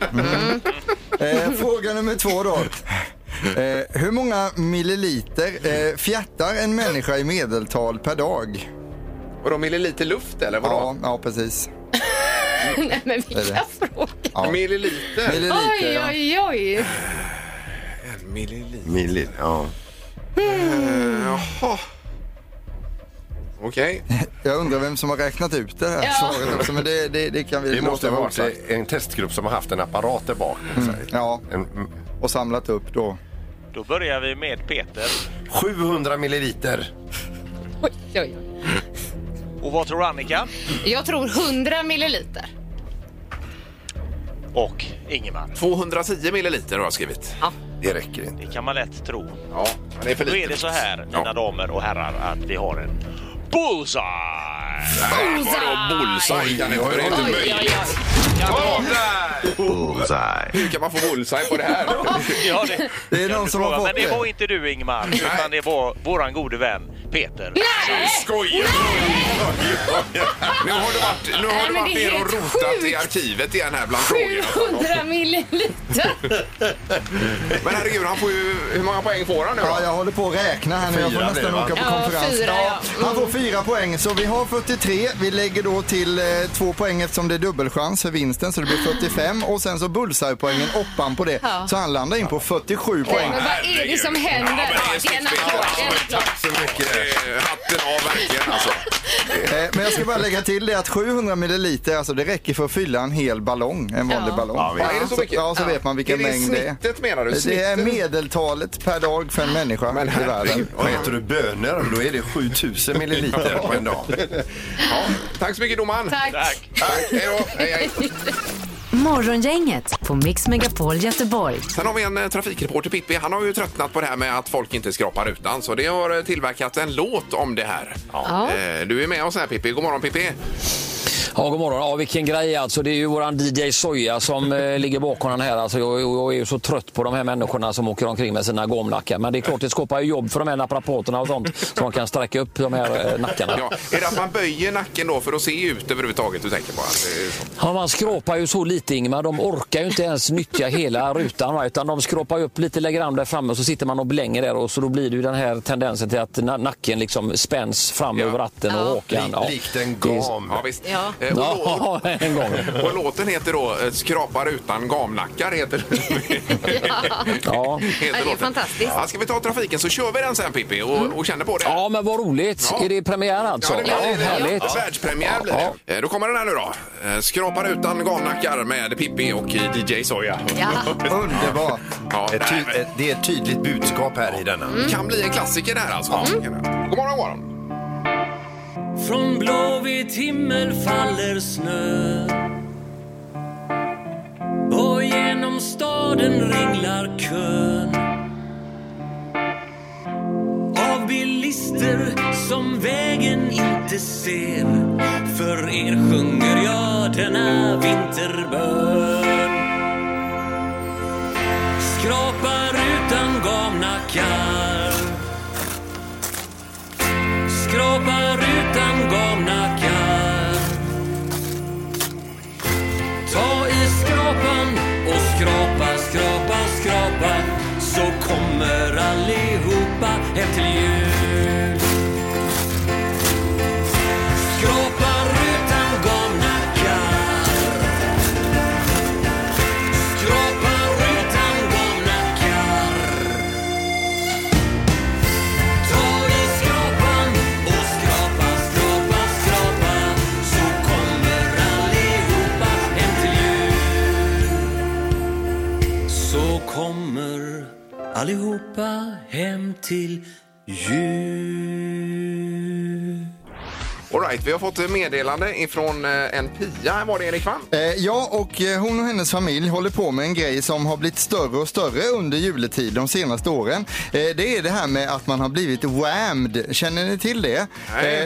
[SPEAKER 5] Eh, fråga nummer två då. Eh, hur många milliliter eh, fjärtar en människa i medeltal per dag?
[SPEAKER 2] Och de ville lite luft eller
[SPEAKER 5] Ja,
[SPEAKER 2] vadå?
[SPEAKER 5] ja precis.
[SPEAKER 4] Nej, men
[SPEAKER 5] Är
[SPEAKER 4] vilka
[SPEAKER 5] det?
[SPEAKER 4] frågor.
[SPEAKER 5] Ja.
[SPEAKER 2] Milliliter?
[SPEAKER 5] Milliliter,
[SPEAKER 4] Oj,
[SPEAKER 5] ja.
[SPEAKER 4] oj, oj.
[SPEAKER 2] En milliliter.
[SPEAKER 3] Milin, ja.
[SPEAKER 2] Eh, Jaha. Okej.
[SPEAKER 5] Jag undrar vem som har räknat ut det här
[SPEAKER 4] Ja.
[SPEAKER 5] svaret också, men det, det, det kan vi
[SPEAKER 3] Det måste
[SPEAKER 5] låta
[SPEAKER 3] ha
[SPEAKER 5] vara
[SPEAKER 3] varit
[SPEAKER 5] osagt.
[SPEAKER 3] en testgrupp som har haft en apparat där bak.
[SPEAKER 5] Ja,
[SPEAKER 3] En, mm,
[SPEAKER 5] och samlat upp då.
[SPEAKER 9] Då börjar vi med Peter.
[SPEAKER 3] 700 milliliter.
[SPEAKER 4] Oj, oj, oj.
[SPEAKER 9] Och vad tror Annika?
[SPEAKER 4] Jag tror 100 milliliter.
[SPEAKER 9] Och Ingemar.
[SPEAKER 2] 210 milliliter har jag skrivit.
[SPEAKER 3] Det räcker inte.
[SPEAKER 9] Det kan man lätt tro.
[SPEAKER 2] Ja, men det är för
[SPEAKER 9] Då
[SPEAKER 2] lite.
[SPEAKER 9] är det så här, mina
[SPEAKER 2] Ja.
[SPEAKER 9] damer och herrar, att vi har en bullseye!
[SPEAKER 2] Nej, Vadå bullseye? Kan det vara- det är inte
[SPEAKER 4] Oj, oj,
[SPEAKER 2] möjligt.
[SPEAKER 4] oj.
[SPEAKER 2] Ja, där! Hur kan man få bullseye på det
[SPEAKER 3] [laughs]
[SPEAKER 2] här?
[SPEAKER 9] Ja, det,
[SPEAKER 5] [laughs] Det är
[SPEAKER 9] kan
[SPEAKER 5] någon
[SPEAKER 9] du
[SPEAKER 5] som har
[SPEAKER 9] fråga.
[SPEAKER 5] fått
[SPEAKER 9] Men det
[SPEAKER 5] det.
[SPEAKER 9] var inte du Ingemar, utan det var våran gode vän Peter.
[SPEAKER 2] Skojar du? Nu har du varit, nu har
[SPEAKER 4] Nej,
[SPEAKER 2] du
[SPEAKER 4] men
[SPEAKER 2] varit
[SPEAKER 4] det är
[SPEAKER 2] ner och
[SPEAKER 4] helt
[SPEAKER 2] rotat i
[SPEAKER 4] sjukt.
[SPEAKER 2] arkivet igen här bland frågorna.
[SPEAKER 4] 700 milliliter.
[SPEAKER 2] Men herregud, han får ju, hur många poäng får han nu
[SPEAKER 5] Ja,
[SPEAKER 2] då?
[SPEAKER 5] jag håller på att räkna här nu. Jag får
[SPEAKER 3] Fyra blir
[SPEAKER 5] nästan
[SPEAKER 3] det, va?
[SPEAKER 5] åka på
[SPEAKER 4] Ja,
[SPEAKER 5] konferens.
[SPEAKER 4] fyra, ja.
[SPEAKER 5] Han får fyra poäng, så vi har 43. Vi lägger då till eh, två poäng eftersom det är dubbelchans för vinsten, så det blir 45. Och sen så bullseye-poängen, oppan på det.
[SPEAKER 4] Ja.
[SPEAKER 5] Så han landar in på 47 poäng.
[SPEAKER 4] Men vad är det som
[SPEAKER 2] Ja,
[SPEAKER 4] händer?
[SPEAKER 2] men
[SPEAKER 4] Ja, det
[SPEAKER 2] det är
[SPEAKER 4] är en
[SPEAKER 2] stort
[SPEAKER 4] applåd.
[SPEAKER 2] spel.
[SPEAKER 4] det är en applåd.
[SPEAKER 3] Så mycket.
[SPEAKER 2] Eh, Hatten av verkligen alltså.
[SPEAKER 5] Eh, Men jag ska bara lägga till det att 700 milliliter, alltså det räcker för att fylla en hel ballong. En vanlig
[SPEAKER 4] Ja.
[SPEAKER 5] ballong.
[SPEAKER 2] Ja, är det så mycket?
[SPEAKER 5] Ja, så vet man
[SPEAKER 2] Är
[SPEAKER 5] vilken
[SPEAKER 2] det
[SPEAKER 5] mängd det är.
[SPEAKER 2] snittet menar du?
[SPEAKER 5] Det är
[SPEAKER 2] Snittet?
[SPEAKER 5] medeltalet per dag för en människa
[SPEAKER 2] Men
[SPEAKER 5] i världen.
[SPEAKER 2] herregud.
[SPEAKER 3] Och äter du bönor, då är det 7000 milliliter på en dag.
[SPEAKER 2] Ja, tack så mycket domaren.
[SPEAKER 4] Tack.
[SPEAKER 9] Tack!
[SPEAKER 2] Tack, Hej då. Hej, hej.
[SPEAKER 1] Morgongänget på Mix Megapol Göteborg.
[SPEAKER 2] Sen har vi en eh, trafikreporter, Pippi. Han har ju tröttnat på det här med att folk inte skrapar utan. Så det har eh, tillverkats en låt om det här.
[SPEAKER 4] Ja.
[SPEAKER 2] Eh, Du är med oss här, Pippi. God morgon, Pippi.
[SPEAKER 10] Ja, god morgon. Ja, vilken grej alltså. Det är ju våran DJ Soja som eh, ligger bakom den här. Alltså, jag, jag jag är ju så trött på de här människorna som åker omkring med sina gomnackar. Men det är klart, det skapar ju jobb för de här naprapaterna och sånt. Så man kan sträcka upp de här eh, nackarna.
[SPEAKER 2] Ja, är det att man böjer nacken då för att se ut överhuvudtaget? Du tänker på att det är så?
[SPEAKER 10] Ja, man skrapar ju så lite Ingmar. De orkar ju inte ens nyttja hela rutan. Va? Utan de skrapar ju upp lite längre fram där framme och så sitter man och blänger där. Och så då blir det ju den här tendensen till att na- nacken liksom spänns fram
[SPEAKER 2] Ja.
[SPEAKER 10] över ratten och hakan. Ja.
[SPEAKER 3] Likt en
[SPEAKER 10] Det är-
[SPEAKER 3] gam.
[SPEAKER 2] Ja, visst.
[SPEAKER 4] Ja.
[SPEAKER 2] Eh, och lå-
[SPEAKER 10] Ja, [laughs] en gång.
[SPEAKER 2] Och låten heter då eh, Skrapar utan gamnackar. Heter,
[SPEAKER 4] [laughs]
[SPEAKER 10] Ja.
[SPEAKER 4] Ja, det är
[SPEAKER 2] låten.
[SPEAKER 4] fantastiskt. Mm.
[SPEAKER 2] Ja, ska vi ta trafiken så kör vi den sen Pippi och, och känner på det.
[SPEAKER 10] Ja, men vad roligt.
[SPEAKER 2] Ja.
[SPEAKER 10] Är det premiär alltså?
[SPEAKER 2] Ja, det blir det.
[SPEAKER 10] härligt.
[SPEAKER 2] Ja. Världspremiär blir det. Eh, Då kommer den här nu då. Eh, Skrapar utan gamnackar med Pippi och eh, DJ Soja. [laughs]
[SPEAKER 4] Ja.
[SPEAKER 5] Underbart.
[SPEAKER 2] Ja,
[SPEAKER 3] Ett
[SPEAKER 2] nej,
[SPEAKER 3] ty- ett, det är ett tydligt budskap här i denna.
[SPEAKER 4] Mm.
[SPEAKER 2] men kan bli en klassiker det här alltså. God morgon, god morgon.
[SPEAKER 9] Från blåvit himmel faller snö och genom staden ringlar kön av bilister som vägen inte ser. För er sjunger jag denna vinterbön. Skrapar utan gamnackar Skrapar utan gamnackar Ta i skrapan och skrapa, skrapa, skrapa
[SPEAKER 11] kommer allihopa hem till jul.
[SPEAKER 2] All right, vi har fått ett meddelande ifrån eh, en Pia. Var det Erik va?
[SPEAKER 5] Eh, ja, och eh, hon och hennes familj håller på med en grej som har blivit större och större under juletid de senaste åren. Eh, det är det här med att man har blivit whammed. Känner ni till det? Eh,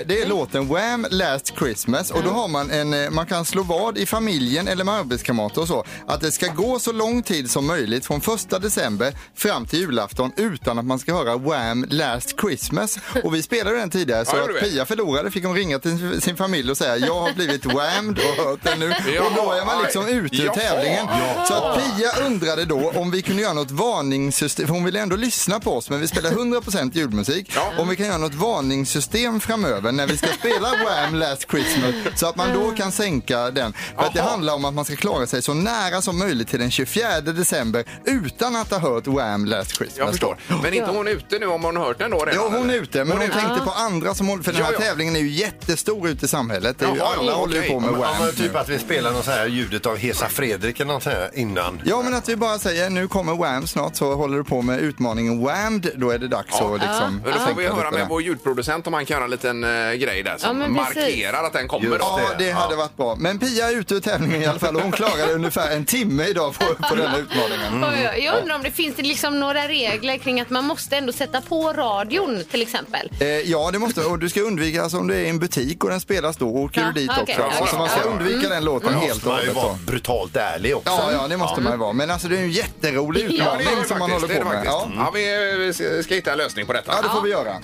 [SPEAKER 5] det är låten Wham Last Christmas och då har man en, eh, man kan slå vad i familjen eller med arbetskamrater och så. Att det ska gå så lång tid som möjligt från 1 december fram till julafton utan att man ska höra Wham Last Christmas. Och vi spelade den tidigare så
[SPEAKER 2] Ja, det
[SPEAKER 5] att
[SPEAKER 2] vet.
[SPEAKER 5] Pia förlorade fick hon ringa till sin familj och säga jag har
[SPEAKER 2] [laughs]
[SPEAKER 5] blivit whammed och hört den nu. Och då är man liksom ute ur
[SPEAKER 2] Jaha.
[SPEAKER 5] tävlingen.
[SPEAKER 2] Jaha.
[SPEAKER 5] Så att Pia undrade då om vi kunde göra något varningssystem, för hon ville ändå lyssna på oss men vi spelar 100% julmusik. Om vi kan göra något varningssystem framöver när vi ska spela Wham! Last Christmas så att man då kan sänka den. För att det handlar om att man ska klara sig så nära som möjligt till den 24 december utan att ha hört Wham! Last Christmas.
[SPEAKER 2] Jag förstår.
[SPEAKER 5] då.
[SPEAKER 2] Men inte hon är ute nu om hon har hört den då redan?
[SPEAKER 5] Ja, hon är
[SPEAKER 2] eller?
[SPEAKER 5] ute, men hon, tänkte på andra som håller, för den här
[SPEAKER 2] Ja, ja.
[SPEAKER 5] tävlingen är ju jättestor ute i samhället. Det är ju,
[SPEAKER 3] Jaha,
[SPEAKER 5] alla
[SPEAKER 3] ja,
[SPEAKER 5] håller ju
[SPEAKER 3] okej.
[SPEAKER 5] på med
[SPEAKER 3] Ja, men-
[SPEAKER 5] Wham!
[SPEAKER 3] ja, men typ
[SPEAKER 5] nu.
[SPEAKER 3] att vi spelar något så här ljudet av Hesa Fredrik eller något så här innan.
[SPEAKER 5] Ja, men att vi bara säger nu kommer Wham snart så håller du på med utmaningen Whammed, då är det dags att liksom...
[SPEAKER 2] Men Då får
[SPEAKER 5] tänka
[SPEAKER 2] vi höra
[SPEAKER 5] lite
[SPEAKER 2] med
[SPEAKER 5] där.
[SPEAKER 2] vår ljudproducent om han kan göra en liten eh, grej där som
[SPEAKER 5] men precis.
[SPEAKER 2] markerar att den kommer. då.
[SPEAKER 5] Ja, det hade varit bra. Men Pia är ute ur tävlingen i alla fall och hon klarade ungefär en timme idag på, på den här utmaningen.
[SPEAKER 2] Mm.
[SPEAKER 4] Oj, oj, Jag undrar om det finns det liksom några regler kring att man måste ändå sätta på radion till exempel.
[SPEAKER 5] Eh, ja, det måste och du ska undvika alltså, om du är i en butik och den spelas då åker
[SPEAKER 4] Ja,
[SPEAKER 5] du dit
[SPEAKER 4] okej,
[SPEAKER 5] också.
[SPEAKER 4] okej.
[SPEAKER 5] Så man ska
[SPEAKER 4] Ja.
[SPEAKER 5] undvika
[SPEAKER 4] Mm.
[SPEAKER 5] den låten
[SPEAKER 3] Men
[SPEAKER 5] helt
[SPEAKER 3] måste
[SPEAKER 5] och
[SPEAKER 3] man ju
[SPEAKER 5] hållet.
[SPEAKER 3] vara brutalt ärlig också.
[SPEAKER 5] Ja, ja, det måste man ju vara. Men alltså det är ju en jätterolig
[SPEAKER 2] Ja, det är
[SPEAKER 5] utmaning
[SPEAKER 2] det
[SPEAKER 5] som man
[SPEAKER 2] faktiskt,
[SPEAKER 5] håller
[SPEAKER 2] det är
[SPEAKER 5] på
[SPEAKER 2] det
[SPEAKER 5] med.
[SPEAKER 2] faktiskt.
[SPEAKER 5] Ja.
[SPEAKER 2] Ja, vi eh, ska- ska hitta en lösning på detta.
[SPEAKER 5] ja, det får vi göra.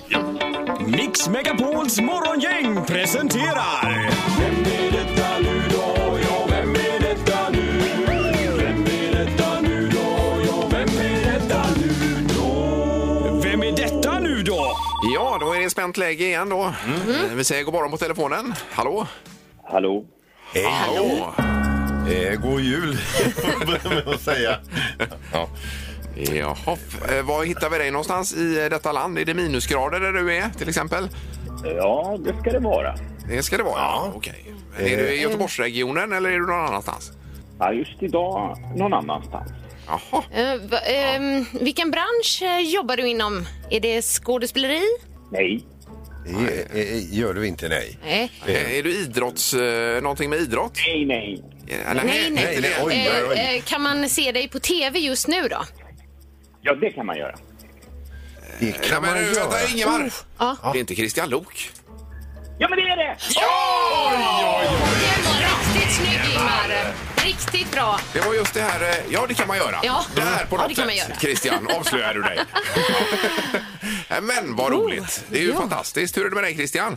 [SPEAKER 11] Mix Megapols morgongäng presenterar... Vem är detta nu då? Ja, vem är detta nu? Vem är detta nu då? Ja, vem är detta nu då? Vem är detta nu då?
[SPEAKER 2] Ja, då är det spänt läge igen då.
[SPEAKER 5] Mm.
[SPEAKER 2] Eh, Vi säger god morgon på telefonen. Hallå?
[SPEAKER 12] Hallå?
[SPEAKER 3] Hej.
[SPEAKER 2] Hallå.
[SPEAKER 3] Eh, god jul, [laughs] börjar med att säga.
[SPEAKER 2] Ja. Jaha, Eh, var hittar vi dig någonstans i eh, detta land? Är det minusgrader där du är till exempel?
[SPEAKER 12] Ja, det ska det vara.
[SPEAKER 2] Det ska det vara, ja. Okej. Men Är du i Göteborgsregionen eller är du någon annanstans?
[SPEAKER 12] Ja, just idag någon annanstans.
[SPEAKER 2] Jaha.
[SPEAKER 4] Eh, va- ehm, vilken bransch eh, jobbar du inom? Är det skådespeleri?
[SPEAKER 12] Nej.
[SPEAKER 3] Eh, eh, Gör du inte, nej.
[SPEAKER 4] Nej.
[SPEAKER 2] Eh, Är du idrotts... eh, Någonting med idrott?
[SPEAKER 12] Nej,
[SPEAKER 2] Eh,
[SPEAKER 12] nej.
[SPEAKER 4] Nej, nej.
[SPEAKER 2] inte det.
[SPEAKER 4] Eh, eh, kan man se dig på tv just nu då?
[SPEAKER 12] Ja, det kan man göra.
[SPEAKER 3] Det kan
[SPEAKER 2] Nej, men nu, vänta, Ingemar! Det är inte Christian Lok.
[SPEAKER 12] Ja, men det är det!
[SPEAKER 4] Det var riktigt snygg Ingmar. Riktigt bra.
[SPEAKER 2] Det var just det här, eh, ja det kan man göra.
[SPEAKER 4] Ja.
[SPEAKER 2] Det här på
[SPEAKER 4] Ja,
[SPEAKER 2] något
[SPEAKER 4] det kan man
[SPEAKER 2] sätt,
[SPEAKER 4] göra.
[SPEAKER 2] Christian, avslöjar du dig.
[SPEAKER 4] [laughs]
[SPEAKER 2] Ja. Men vad roligt, det är ju fantastiskt. Hur är det med dig Christian?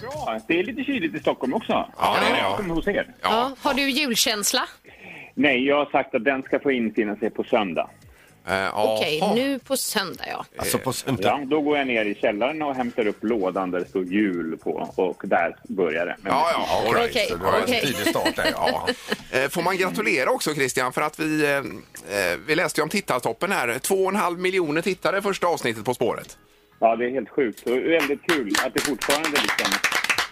[SPEAKER 12] Bra. Det är lite kyligt i Stockholm också.
[SPEAKER 2] Ja, det är det, ja.
[SPEAKER 12] Välkommen hos er.
[SPEAKER 4] Ja, har du julkänsla?
[SPEAKER 12] Nej, jag har sagt att den ska få infinna sig på söndag.
[SPEAKER 2] eh,
[SPEAKER 4] Okej, nu på söndag ja.
[SPEAKER 3] Alltså på
[SPEAKER 12] Ja, då går jag ner i källaren och hämtar upp lådan där det står jul på och där börjar det. Men-
[SPEAKER 2] Ja, ja, all right.
[SPEAKER 4] Okej,
[SPEAKER 2] Så det var en
[SPEAKER 4] okej.
[SPEAKER 2] tidig start där, ja. Eh, Får man gratulera också Christian för att vi, eh, eh, vi läste ju om tittartoppen här. Två och en halv miljoner tittare första avsnittet På spåret.
[SPEAKER 12] Ja, det är helt sjukt. Så väldigt kul att det fortfarande liksom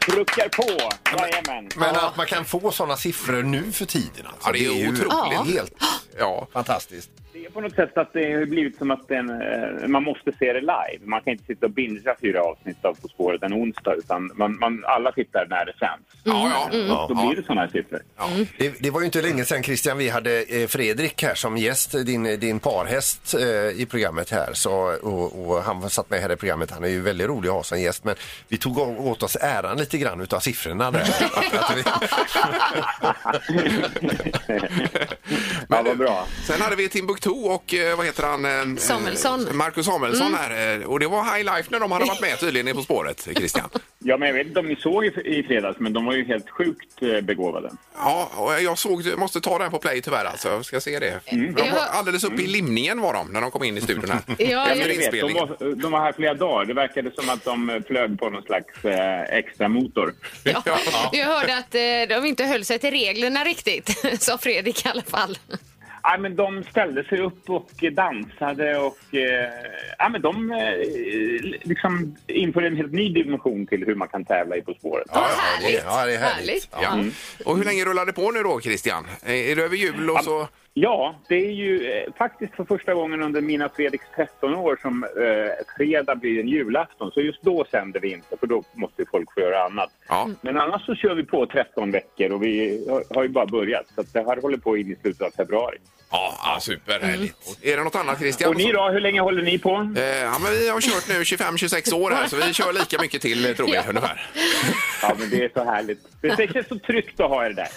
[SPEAKER 12] truckar på. Jajamän.
[SPEAKER 3] Men att man kan få sådana siffror nu för tiden. Alltså,
[SPEAKER 2] Ja, det är otroligt.
[SPEAKER 12] Ja.
[SPEAKER 3] Helt
[SPEAKER 2] ja.
[SPEAKER 3] fantastiskt.
[SPEAKER 8] Mm.
[SPEAKER 12] Det är på något sätt att det har blivit som att den, eh, man måste se det live. Man kan inte sitta och bingea fyra avsnitt av På spåret en onsdag utan man, man, alla tittar när det sänds.
[SPEAKER 4] Mm,
[SPEAKER 2] Ja, ja.
[SPEAKER 12] Och då blir det sådana här siffror.
[SPEAKER 3] Det, det var ju inte länge sedan Christian vi hade eh, Fredrik här som gäst, din, din parhäst eh, i programmet här. Så, och, och han satt med här i programmet, han är ju väldigt rolig att ha som gäst men vi tog å- åt oss äran lite grann utav siffrorna där.
[SPEAKER 2] [laughs]
[SPEAKER 3] Att vi-
[SPEAKER 2] Men ja, bra. Sen hade vi Timbuktu och eh, vad heter han? eh,
[SPEAKER 4] Samuelsson. Mm.
[SPEAKER 2] eh, Marcus Samuelsson här. eh, Och det var high life när de hade varit med tydligen i På spåret, eh, Christian.
[SPEAKER 12] [laughs] Ja, men jag vet inte om ni såg i, i fredags, men de var ju helt sjukt eh, begåvade.
[SPEAKER 2] Ja, och jag såg, jag måste ta den på play tyvärr alltså. Jag ska se det.
[SPEAKER 12] Mm.
[SPEAKER 2] För De
[SPEAKER 4] Jag
[SPEAKER 2] var
[SPEAKER 4] har-
[SPEAKER 2] alldeles uppe i limningen var de när de kom in i studion här.
[SPEAKER 4] [laughs] Ja,
[SPEAKER 12] men
[SPEAKER 2] Efter
[SPEAKER 12] ni vet, de,
[SPEAKER 2] inspelningen.
[SPEAKER 12] var, de var här flera dagar. Det verkade som att de eh, flög på någon slags eh, extra motor.
[SPEAKER 2] [laughs]
[SPEAKER 4] Jag hörde att eh, de inte höll sig till reglerna riktigt, [laughs] sa Fredrik i alla fall.
[SPEAKER 12] Nej, men de ställde sig upp och dansade och eh, ja, men de eh, liksom införde en helt ny dimension till hur man kan tävla i På spåret.
[SPEAKER 3] Ja, det är härligt.
[SPEAKER 2] Ja. Och hur länge rullar det på nu då Christian? Eh, Är det över jul och så
[SPEAKER 12] Ja, det är ju eh, faktiskt för första gången under mina och Fredriks 13 år som eh, fredag blir en julafton. Så just då sänder vi inte, för då måste ju folk få göra annat. Men annars så kör vi på 13 veckor och vi har, har ju bara börjat. Så att det här håller på in i slutet av februari.
[SPEAKER 2] Ja, ja superhärligt. Är det något annat Christian? Eh,
[SPEAKER 12] Och ni då, hur länge håller ni på?
[SPEAKER 2] ja, men vi har kört nu 25-26 år här så vi kör lika mycket till eh, tror jag ungefär.
[SPEAKER 12] Ja, men det är så härligt. Det känns så tryggt att ha er där.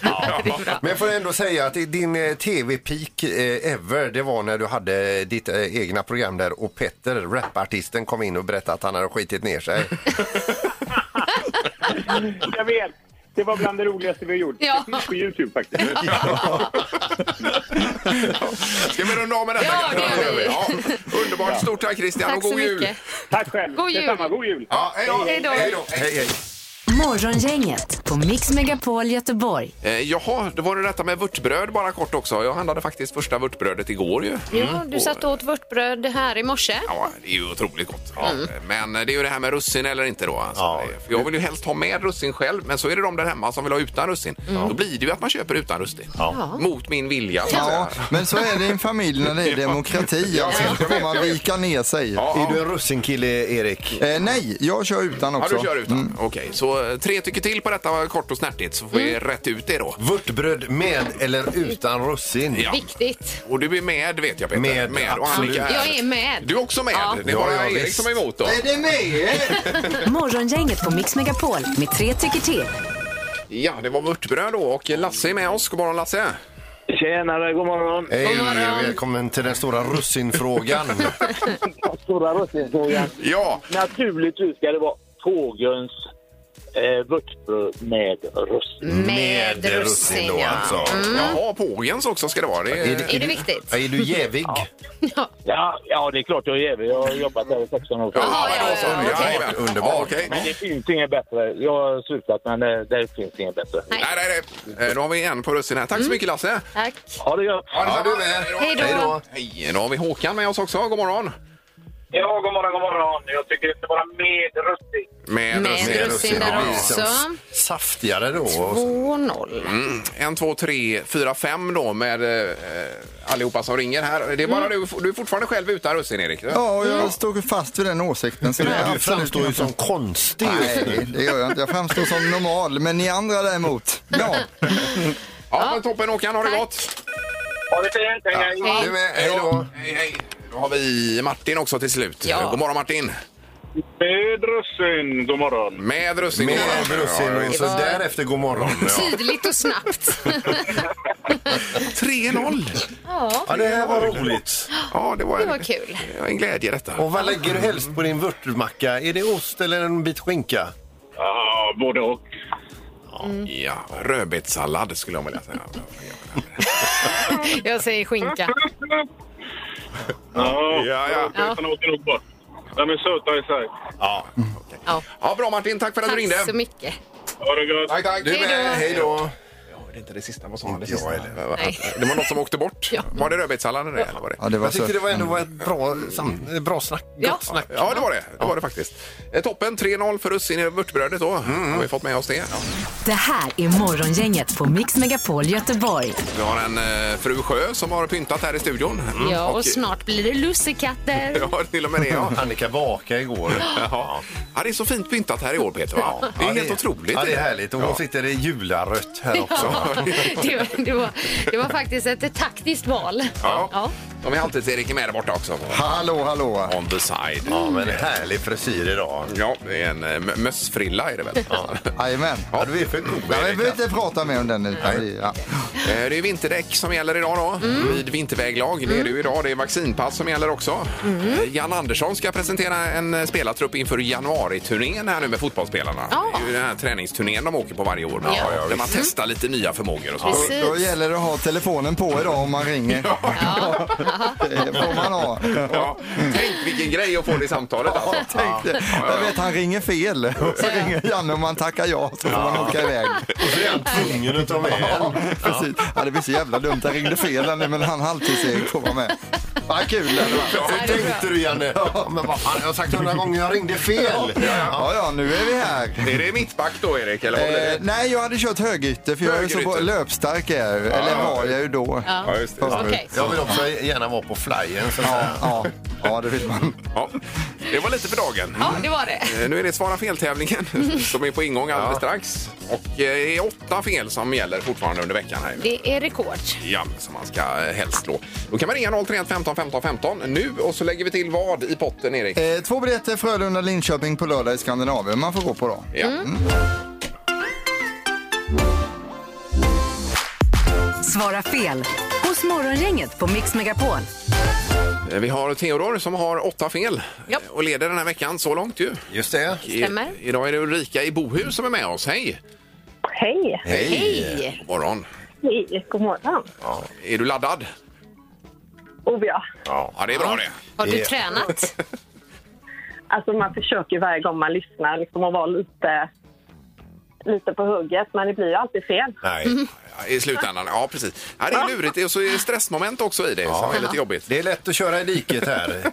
[SPEAKER 3] Men jag får ändå säga att din eh, tv-peak eh, ever, det var när du hade ditt eh, egna program där och Petter, rapartisten, kom in och berättade att han hade skitit ner sig.
[SPEAKER 12] [laughs] Jag vet. Det var bland det roligaste vi har gjort.
[SPEAKER 4] Ja.
[SPEAKER 12] Det finns på Youtube faktiskt.
[SPEAKER 2] Ska vi runda av med detta?
[SPEAKER 12] Ja, det gör
[SPEAKER 2] vi. Ja, underbart. Stort tack Christian och god jul.
[SPEAKER 12] Tack själv.
[SPEAKER 4] God jul.
[SPEAKER 12] Detsamma, god jul.
[SPEAKER 2] Ja, hej då.
[SPEAKER 4] Hej då.
[SPEAKER 2] Hej, hej.
[SPEAKER 1] Morgongänget på Mix Megapol Göteborg.
[SPEAKER 2] Eh, jaha, då var det detta med vörtbröd bara kort också. Jag handlade faktiskt första vörtbrödet igår ju.
[SPEAKER 4] Ja,
[SPEAKER 2] Mm.
[SPEAKER 4] du satt och åt vörtbröd här i morse.
[SPEAKER 2] Ja, det är ju otroligt gott. Ja. Men eh, det är ju det här med russin eller inte då. Alltså. Det- För jag vill ju helst ha med russin själv, men så är det de där hemma som vill ha utan russin.
[SPEAKER 5] Mm.
[SPEAKER 2] Då blir det ju att man köper utan russin.
[SPEAKER 5] Ja.
[SPEAKER 2] Mot min vilja. så att
[SPEAKER 5] Ja,
[SPEAKER 2] säga.
[SPEAKER 5] men så är det i en familj när det är demokrati.
[SPEAKER 2] Ja,
[SPEAKER 5] Alltså,
[SPEAKER 2] jag
[SPEAKER 5] då får
[SPEAKER 2] vet,
[SPEAKER 5] man
[SPEAKER 2] jag vet.
[SPEAKER 5] vika ner sig.
[SPEAKER 2] Ja. Är du
[SPEAKER 3] en russinkille, Erik?
[SPEAKER 5] Eh, nej, jag kör utan
[SPEAKER 2] Ja,
[SPEAKER 5] också. Mm.
[SPEAKER 2] du kör utan. Okej, så eh, tre tycker till på detta kort och snärtigt så får vi rätt ut det då.
[SPEAKER 3] Vörtbröd med eller utan russin?
[SPEAKER 2] Ja.
[SPEAKER 4] Viktigt.
[SPEAKER 2] Och du är med vet jag Peter.
[SPEAKER 3] Med,
[SPEAKER 2] och
[SPEAKER 3] absolut.
[SPEAKER 2] Annika
[SPEAKER 4] Jag är med.
[SPEAKER 2] Du är också med.
[SPEAKER 4] Ja.
[SPEAKER 2] Det är bara
[SPEAKER 3] Ja, ja,
[SPEAKER 2] Erik
[SPEAKER 3] visst.
[SPEAKER 2] som är emot då.
[SPEAKER 5] det med?
[SPEAKER 1] Morgongänget på Mix Megapol med tre tycker till.
[SPEAKER 2] Ja, det var vörtbröd då och Lasse är med oss. God morgon Lasse!
[SPEAKER 13] Tjenare, god morgon!
[SPEAKER 3] Hej, välkommen till den stora
[SPEAKER 4] [laughs]
[SPEAKER 3] russinfrågan.
[SPEAKER 13] Stora russinfrågan.
[SPEAKER 2] Ja.
[SPEAKER 13] Naturligtvis ska det vara Tågöns eh, vörtbröd med russin.
[SPEAKER 4] Med Med russin, russin då, ja. alltså. Mm.
[SPEAKER 2] Jaha, pågens också ska det vara. Det
[SPEAKER 4] Är det viktigt?
[SPEAKER 3] Är du jävig?
[SPEAKER 13] Ja, ja, det är klart jag är jävig. Jag har jobbat där i 16 år.
[SPEAKER 2] Ja, men då så. Ja, jajamän. Ja, okej.
[SPEAKER 13] Men det finns inget bättre. Jag har slutat, men det, det finns inget bättre.
[SPEAKER 2] Nej, nej, nej. Eh, Då har vi en på russin här. Tack så mycket Lasse!
[SPEAKER 4] Tack.
[SPEAKER 13] Ha det gött!
[SPEAKER 2] Ja, du med.
[SPEAKER 4] Hej då. Hej då.
[SPEAKER 2] Hej, då har vi Håkan med oss också. God morgon!
[SPEAKER 13] Ja, god morgon, god morgon. Jag tycker det ska vara med russin.
[SPEAKER 2] Med,
[SPEAKER 4] Med russin där
[SPEAKER 2] Ja, ja.
[SPEAKER 4] också.
[SPEAKER 3] Saftigare då.
[SPEAKER 4] 2-0.
[SPEAKER 2] Mm. En, två, tre, fyra, fem då med eh, allihopa som ringer här. Det är bara du, du är fortfarande själv utan russin Erik.
[SPEAKER 5] Ja, och jag står fast vid den åsikten. Så det är
[SPEAKER 3] Mm. Du framstår ju som konstig just
[SPEAKER 5] Nej, det gör jag inte. Jag framstår som normal, men ni andra däremot. Ja.
[SPEAKER 2] Ja, men toppen Håkan, ha det gott!
[SPEAKER 13] Ha det fint! Hej,
[SPEAKER 2] Ja, du med. Hej då! Hej, hej. Då har vi Martin också till slut.
[SPEAKER 13] Ja.
[SPEAKER 2] God morgon Martin!
[SPEAKER 13] Med russin, god morgon!
[SPEAKER 2] Med russin.
[SPEAKER 3] Med
[SPEAKER 2] god morgon.
[SPEAKER 3] russin och så därefter god morgon.
[SPEAKER 4] Typ. Tydligt och snabbt.
[SPEAKER 2] 3-0.
[SPEAKER 4] Ja,
[SPEAKER 3] Ja, det här var roligt.
[SPEAKER 2] Ja, det var
[SPEAKER 4] det
[SPEAKER 2] en,
[SPEAKER 4] var kul.
[SPEAKER 2] det var en glädje i detta.
[SPEAKER 3] Och vad lägger du helst på din vörtmacka? Är det ost eller en bit skinka?
[SPEAKER 13] Ja, både och.
[SPEAKER 2] Ja, rödbetssallad skulle jag vilja säga.
[SPEAKER 4] Jag säger skinka.
[SPEAKER 2] Ja, ja.
[SPEAKER 4] Ja.
[SPEAKER 13] åker nog bort. De är söta i sig.
[SPEAKER 2] Ja.
[SPEAKER 4] Ja.
[SPEAKER 2] ja, bra Martin. Tack för att du ringde.
[SPEAKER 4] Tack så mycket.
[SPEAKER 13] Ha det gott!
[SPEAKER 2] Tack, tack.
[SPEAKER 4] Du med. Hej då. Hej
[SPEAKER 3] då.
[SPEAKER 2] Det är inte det sista. Vad sa han? Det, sista.
[SPEAKER 4] Nej.
[SPEAKER 2] det var något som åkte bort. Var det rödbetssalladen det? Eller var det?
[SPEAKER 5] Ja, det var
[SPEAKER 3] Jag tyckte
[SPEAKER 5] sött.
[SPEAKER 3] det var ändå var ett bra, sam- bra snack.
[SPEAKER 4] Ja.
[SPEAKER 3] Gott snack.
[SPEAKER 2] Ja, det var det. Det var det faktiskt. Eh, Toppen. 3-0 för russin i vörtbrödet då. Har vi fått med oss det.
[SPEAKER 1] Det här är Morgongänget på Mix Megapol Göteborg.
[SPEAKER 2] Vi har en eh, fru Sjö som har pyntat här i studion. Mm.
[SPEAKER 4] Ja, och snart blir det lussekatter.
[SPEAKER 2] [laughs] Ja, till och med det. Ja.
[SPEAKER 3] Annika bakade igår.
[SPEAKER 2] Ja. ja, det är så fint pyntat här i år, Peter. Va? Det är helt otroligt.
[SPEAKER 3] Ja, det är härligt. Och hon
[SPEAKER 2] Ja.
[SPEAKER 3] sitter i jularött
[SPEAKER 4] [laughs]
[SPEAKER 3] här också.
[SPEAKER 4] Det var, det, var, det var faktiskt ett taktiskt val.
[SPEAKER 2] Ja. De är alltid Erik med där borta också.
[SPEAKER 5] Hallå, hallå.
[SPEAKER 2] On the side.
[SPEAKER 3] Ja, men härlig frisyr idag.
[SPEAKER 2] Ja, det är en eh, mö- mössfrilla är det väl? Ja.
[SPEAKER 5] Jajamän.
[SPEAKER 3] Ja, du är för god,
[SPEAKER 5] Ja, vi
[SPEAKER 3] Erik.
[SPEAKER 5] behöver inte prata mer om den. utan vi- Ja.
[SPEAKER 2] Eh, Det är vinterdäck som gäller idag då,
[SPEAKER 4] Mm.
[SPEAKER 2] vid vinterväglag. Det är det ju idag. Det är vaccinpass som gäller också.
[SPEAKER 4] Mm.
[SPEAKER 2] Eh, Jan Andersson ska presentera en eh, spelartrupp inför januariturnén här nu med fotbollsspelarna.
[SPEAKER 4] Ja.
[SPEAKER 2] Det är ju den här träningsturnén de åker på varje år.
[SPEAKER 4] Ja. Mm. Ja, ja,
[SPEAKER 2] där man testar lite nya förmågor och så.
[SPEAKER 4] Precis.
[SPEAKER 5] [laughs] Då gäller det att ha telefonen på idag om man ringer.
[SPEAKER 4] Ja.
[SPEAKER 5] Det får man ha.
[SPEAKER 2] Ja, tänk vilken grej att få det i samtalet. Alltså.
[SPEAKER 5] Tänkte, jag vet, han ringer fel. Och så ringer Janne och man tackar ja, så får man åka iväg.
[SPEAKER 3] Och så är han tvungen att ta med en.
[SPEAKER 5] Precis. Ja, det blir så jävla dumt. Jag ringde fel, Janne, men han halvtids-Erik får vara med. Vad kul det hade varit.
[SPEAKER 3] Hur tänkte du Janne? Ja, men vad fan, jag har sagt hundra gånger jag ringde fel.
[SPEAKER 5] Ja, ja, nu är vi här.
[SPEAKER 2] Är det mittback då, Erik? Eller håller
[SPEAKER 5] Eh,
[SPEAKER 2] det?
[SPEAKER 5] nej, jag hade kört högytter för jag är ju så
[SPEAKER 2] Högerytter.
[SPEAKER 5] bra- löpstark. Är, jag ju. Eller var jag ju då.
[SPEAKER 4] Ja.
[SPEAKER 2] Ja, just det.
[SPEAKER 5] Förut.
[SPEAKER 4] Okej.
[SPEAKER 3] Jag vill också gärna vara på flyen. Så att
[SPEAKER 5] Ja,
[SPEAKER 3] säga.
[SPEAKER 5] ja, ja, det vill man.
[SPEAKER 2] Ja, det var lite för dagen.
[SPEAKER 4] Ja, det var det.
[SPEAKER 2] Eh, Nu är det Svara fel-tävlingen
[SPEAKER 4] [laughs]
[SPEAKER 2] som är på ingång alldeles strax. Och eh, det är åtta fel som gäller fortfarande under veckan. här.
[SPEAKER 4] Det är rekord.
[SPEAKER 2] Ja, som man ska eh, helst slå. Då kan man ringa 031 15 15 15 nu och så lägger vi till vad i potten, Erik?
[SPEAKER 5] Eh, två biljetter Frölunda-Linköping på lördag i Skandinavien. Man får gå på då.
[SPEAKER 2] Ja.
[SPEAKER 4] Mm.
[SPEAKER 2] Mm.
[SPEAKER 1] Svara fel hos Morgongänget på Mix Megapol.
[SPEAKER 2] Eh, Vi har Theodor som har åtta fel
[SPEAKER 4] Ja.
[SPEAKER 2] och leder den här veckan så långt ju.
[SPEAKER 3] Just det.
[SPEAKER 4] Stämmer.
[SPEAKER 2] I, idag är det Ulrika i Bohus som är med oss. Hej!
[SPEAKER 6] Hej!
[SPEAKER 4] Hej!
[SPEAKER 2] God morgon.
[SPEAKER 6] Hej, god morgon.
[SPEAKER 2] Ja. Är du laddad?
[SPEAKER 6] Oh, ja.
[SPEAKER 2] Ja. det är bra det.
[SPEAKER 4] Har du
[SPEAKER 3] Ja.
[SPEAKER 4] tränat?
[SPEAKER 6] Alltså man försöker ju varje gång man lyssnar liksom att vara lite, lite på hugget, men det blir ju alltid fel.
[SPEAKER 3] Nej.
[SPEAKER 2] Ja, I slutändan, ja precis. Ja, det är lurigt och så är det stressmoment också i det som är lite jobbigt.
[SPEAKER 3] Det är lätt att köra i diket här.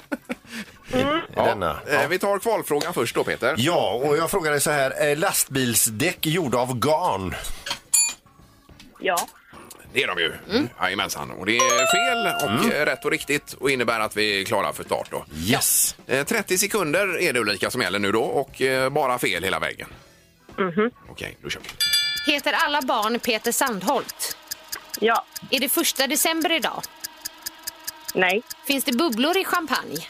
[SPEAKER 3] I, i denna.
[SPEAKER 2] Eh, Vi tar kvalfrågan först då Peter.
[SPEAKER 3] Ja, och jag frågar dig så här. Är lastbilsdäck gjorda av garn?
[SPEAKER 6] Ja.
[SPEAKER 2] Det är de ju.
[SPEAKER 4] Mm.
[SPEAKER 2] Jajamensan. Och det är fel och eh, rätt och riktigt och innebär att vi är klara för start då.
[SPEAKER 3] Yes.
[SPEAKER 2] Eh, 30 sekunder är det Ulrika som gäller nu då och eh, bara fel hela vägen.
[SPEAKER 4] Mhm.
[SPEAKER 2] Okej, då kör vi.
[SPEAKER 4] Heter alla barn Peter Sandholt?
[SPEAKER 6] Ja.
[SPEAKER 4] Är det första december idag?
[SPEAKER 6] Nej.
[SPEAKER 4] Finns det bubblor i champagne?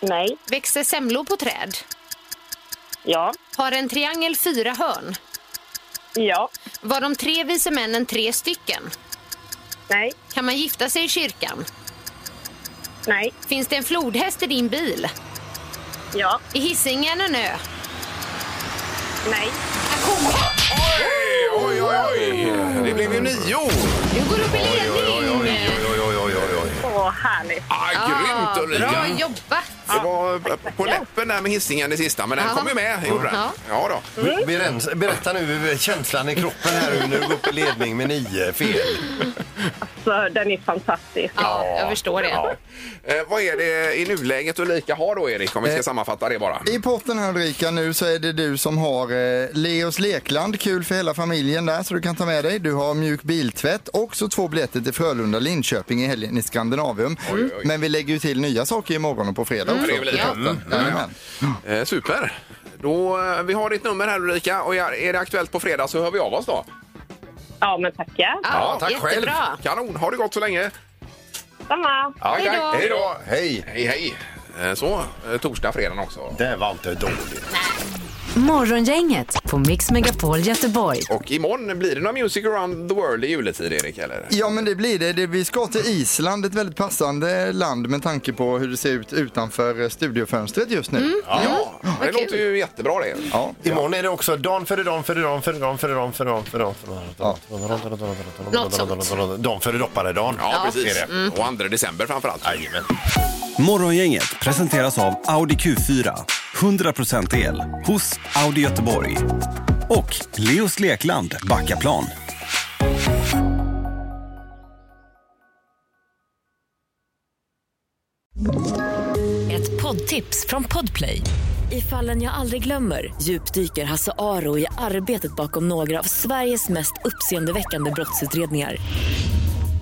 [SPEAKER 6] Nej.
[SPEAKER 4] Växer semlor på träd?
[SPEAKER 6] Ja.
[SPEAKER 4] Har en triangel fyra hörn?
[SPEAKER 6] Ja.
[SPEAKER 4] Var de tre vise männen tre stycken?
[SPEAKER 6] Nej.
[SPEAKER 4] Kan man gifta sig i kyrkan?
[SPEAKER 6] Nej.
[SPEAKER 4] Finns det en flodhäst i din bil?
[SPEAKER 6] Ja.
[SPEAKER 4] Är Hisingen en ö?
[SPEAKER 6] Nej.
[SPEAKER 2] Oj, oj, oj, oj! Det blev ju nio!
[SPEAKER 4] Du går upp i ledning!
[SPEAKER 6] Åh, härligt.
[SPEAKER 2] Ah, grymt Ulrika!
[SPEAKER 4] Bra jobbat!
[SPEAKER 2] Det var eh, på läppen där med hissingen i sista, men den
[SPEAKER 4] Ja.
[SPEAKER 2] kom ju med. Gjorde den.
[SPEAKER 4] Ja.
[SPEAKER 2] Ja då.
[SPEAKER 3] Mm. Berens- Berätta nu känslan i kroppen här nu när du går upp i ledning med nio fel.
[SPEAKER 6] Så den är fantastisk.
[SPEAKER 4] Ja, jag förstår det.
[SPEAKER 2] Eh, vad är det i nuläget Ulrika har då Erik, om vi ska
[SPEAKER 5] Eh,
[SPEAKER 2] sammanfatta det bara?
[SPEAKER 5] I potten här Ulrika nu så är det du som har eh, Leos Lekland, kul för hela familjen där så du kan ta med dig. Du har mjuk biltvätt och så två biljetter till Frölunda Linköping i helgen i Skandinavium. Men vi lägger ju till nya saker imorgon och på fredag
[SPEAKER 2] Ja,
[SPEAKER 5] också.
[SPEAKER 2] det är väl lite.
[SPEAKER 5] i potten.
[SPEAKER 2] Mm.
[SPEAKER 5] Jajamän.
[SPEAKER 2] Eh, super! Då, eh, vi har ditt nummer här Ulrika och är är det aktuellt på fredag så hör vi av oss då.
[SPEAKER 6] Ja, men tackar.
[SPEAKER 4] Ja,
[SPEAKER 3] tack själv.
[SPEAKER 4] jättebra.
[SPEAKER 2] Kanon, ha det gott så länge!
[SPEAKER 6] Samma.
[SPEAKER 3] Ja,
[SPEAKER 4] Hej då.
[SPEAKER 3] tack. Hej då! Hej!
[SPEAKER 2] Hej hej! Eh, Så, eh, torsdag, fredag också.
[SPEAKER 3] Det var inte dåligt.
[SPEAKER 1] Morgongänget på Mix Megapol Göteborg.
[SPEAKER 2] Och imorgon blir det någon Music around the world i juletid Erik eller?
[SPEAKER 5] Ja men det blir det. det. Vi ska till Island, ett väldigt passande land med tanke på hur det ser ut utanför eh, studiofönstret just
[SPEAKER 2] Mm.
[SPEAKER 5] nu.
[SPEAKER 2] Ja, det låter ju jättebra det.
[SPEAKER 5] Ja.
[SPEAKER 3] Imorgon är det också dan före dan före dan före dan före dan före dan före dan före dan
[SPEAKER 4] Något sånt.
[SPEAKER 3] Dan före doppare-dan.
[SPEAKER 2] Ja, precis. Och 2 december framförallt. Jajamän.
[SPEAKER 11] Morgongänget presenteras av Audi Q4. 100% el hos Audi Göteborg. Och Leos Lekland Backaplan.
[SPEAKER 14] Ett poddtips från Podplay. I fallen jag aldrig glömmer djupdyker Hasse Aro i arbetet bakom några av Sveriges mest uppseendeväckande brottsutredningar.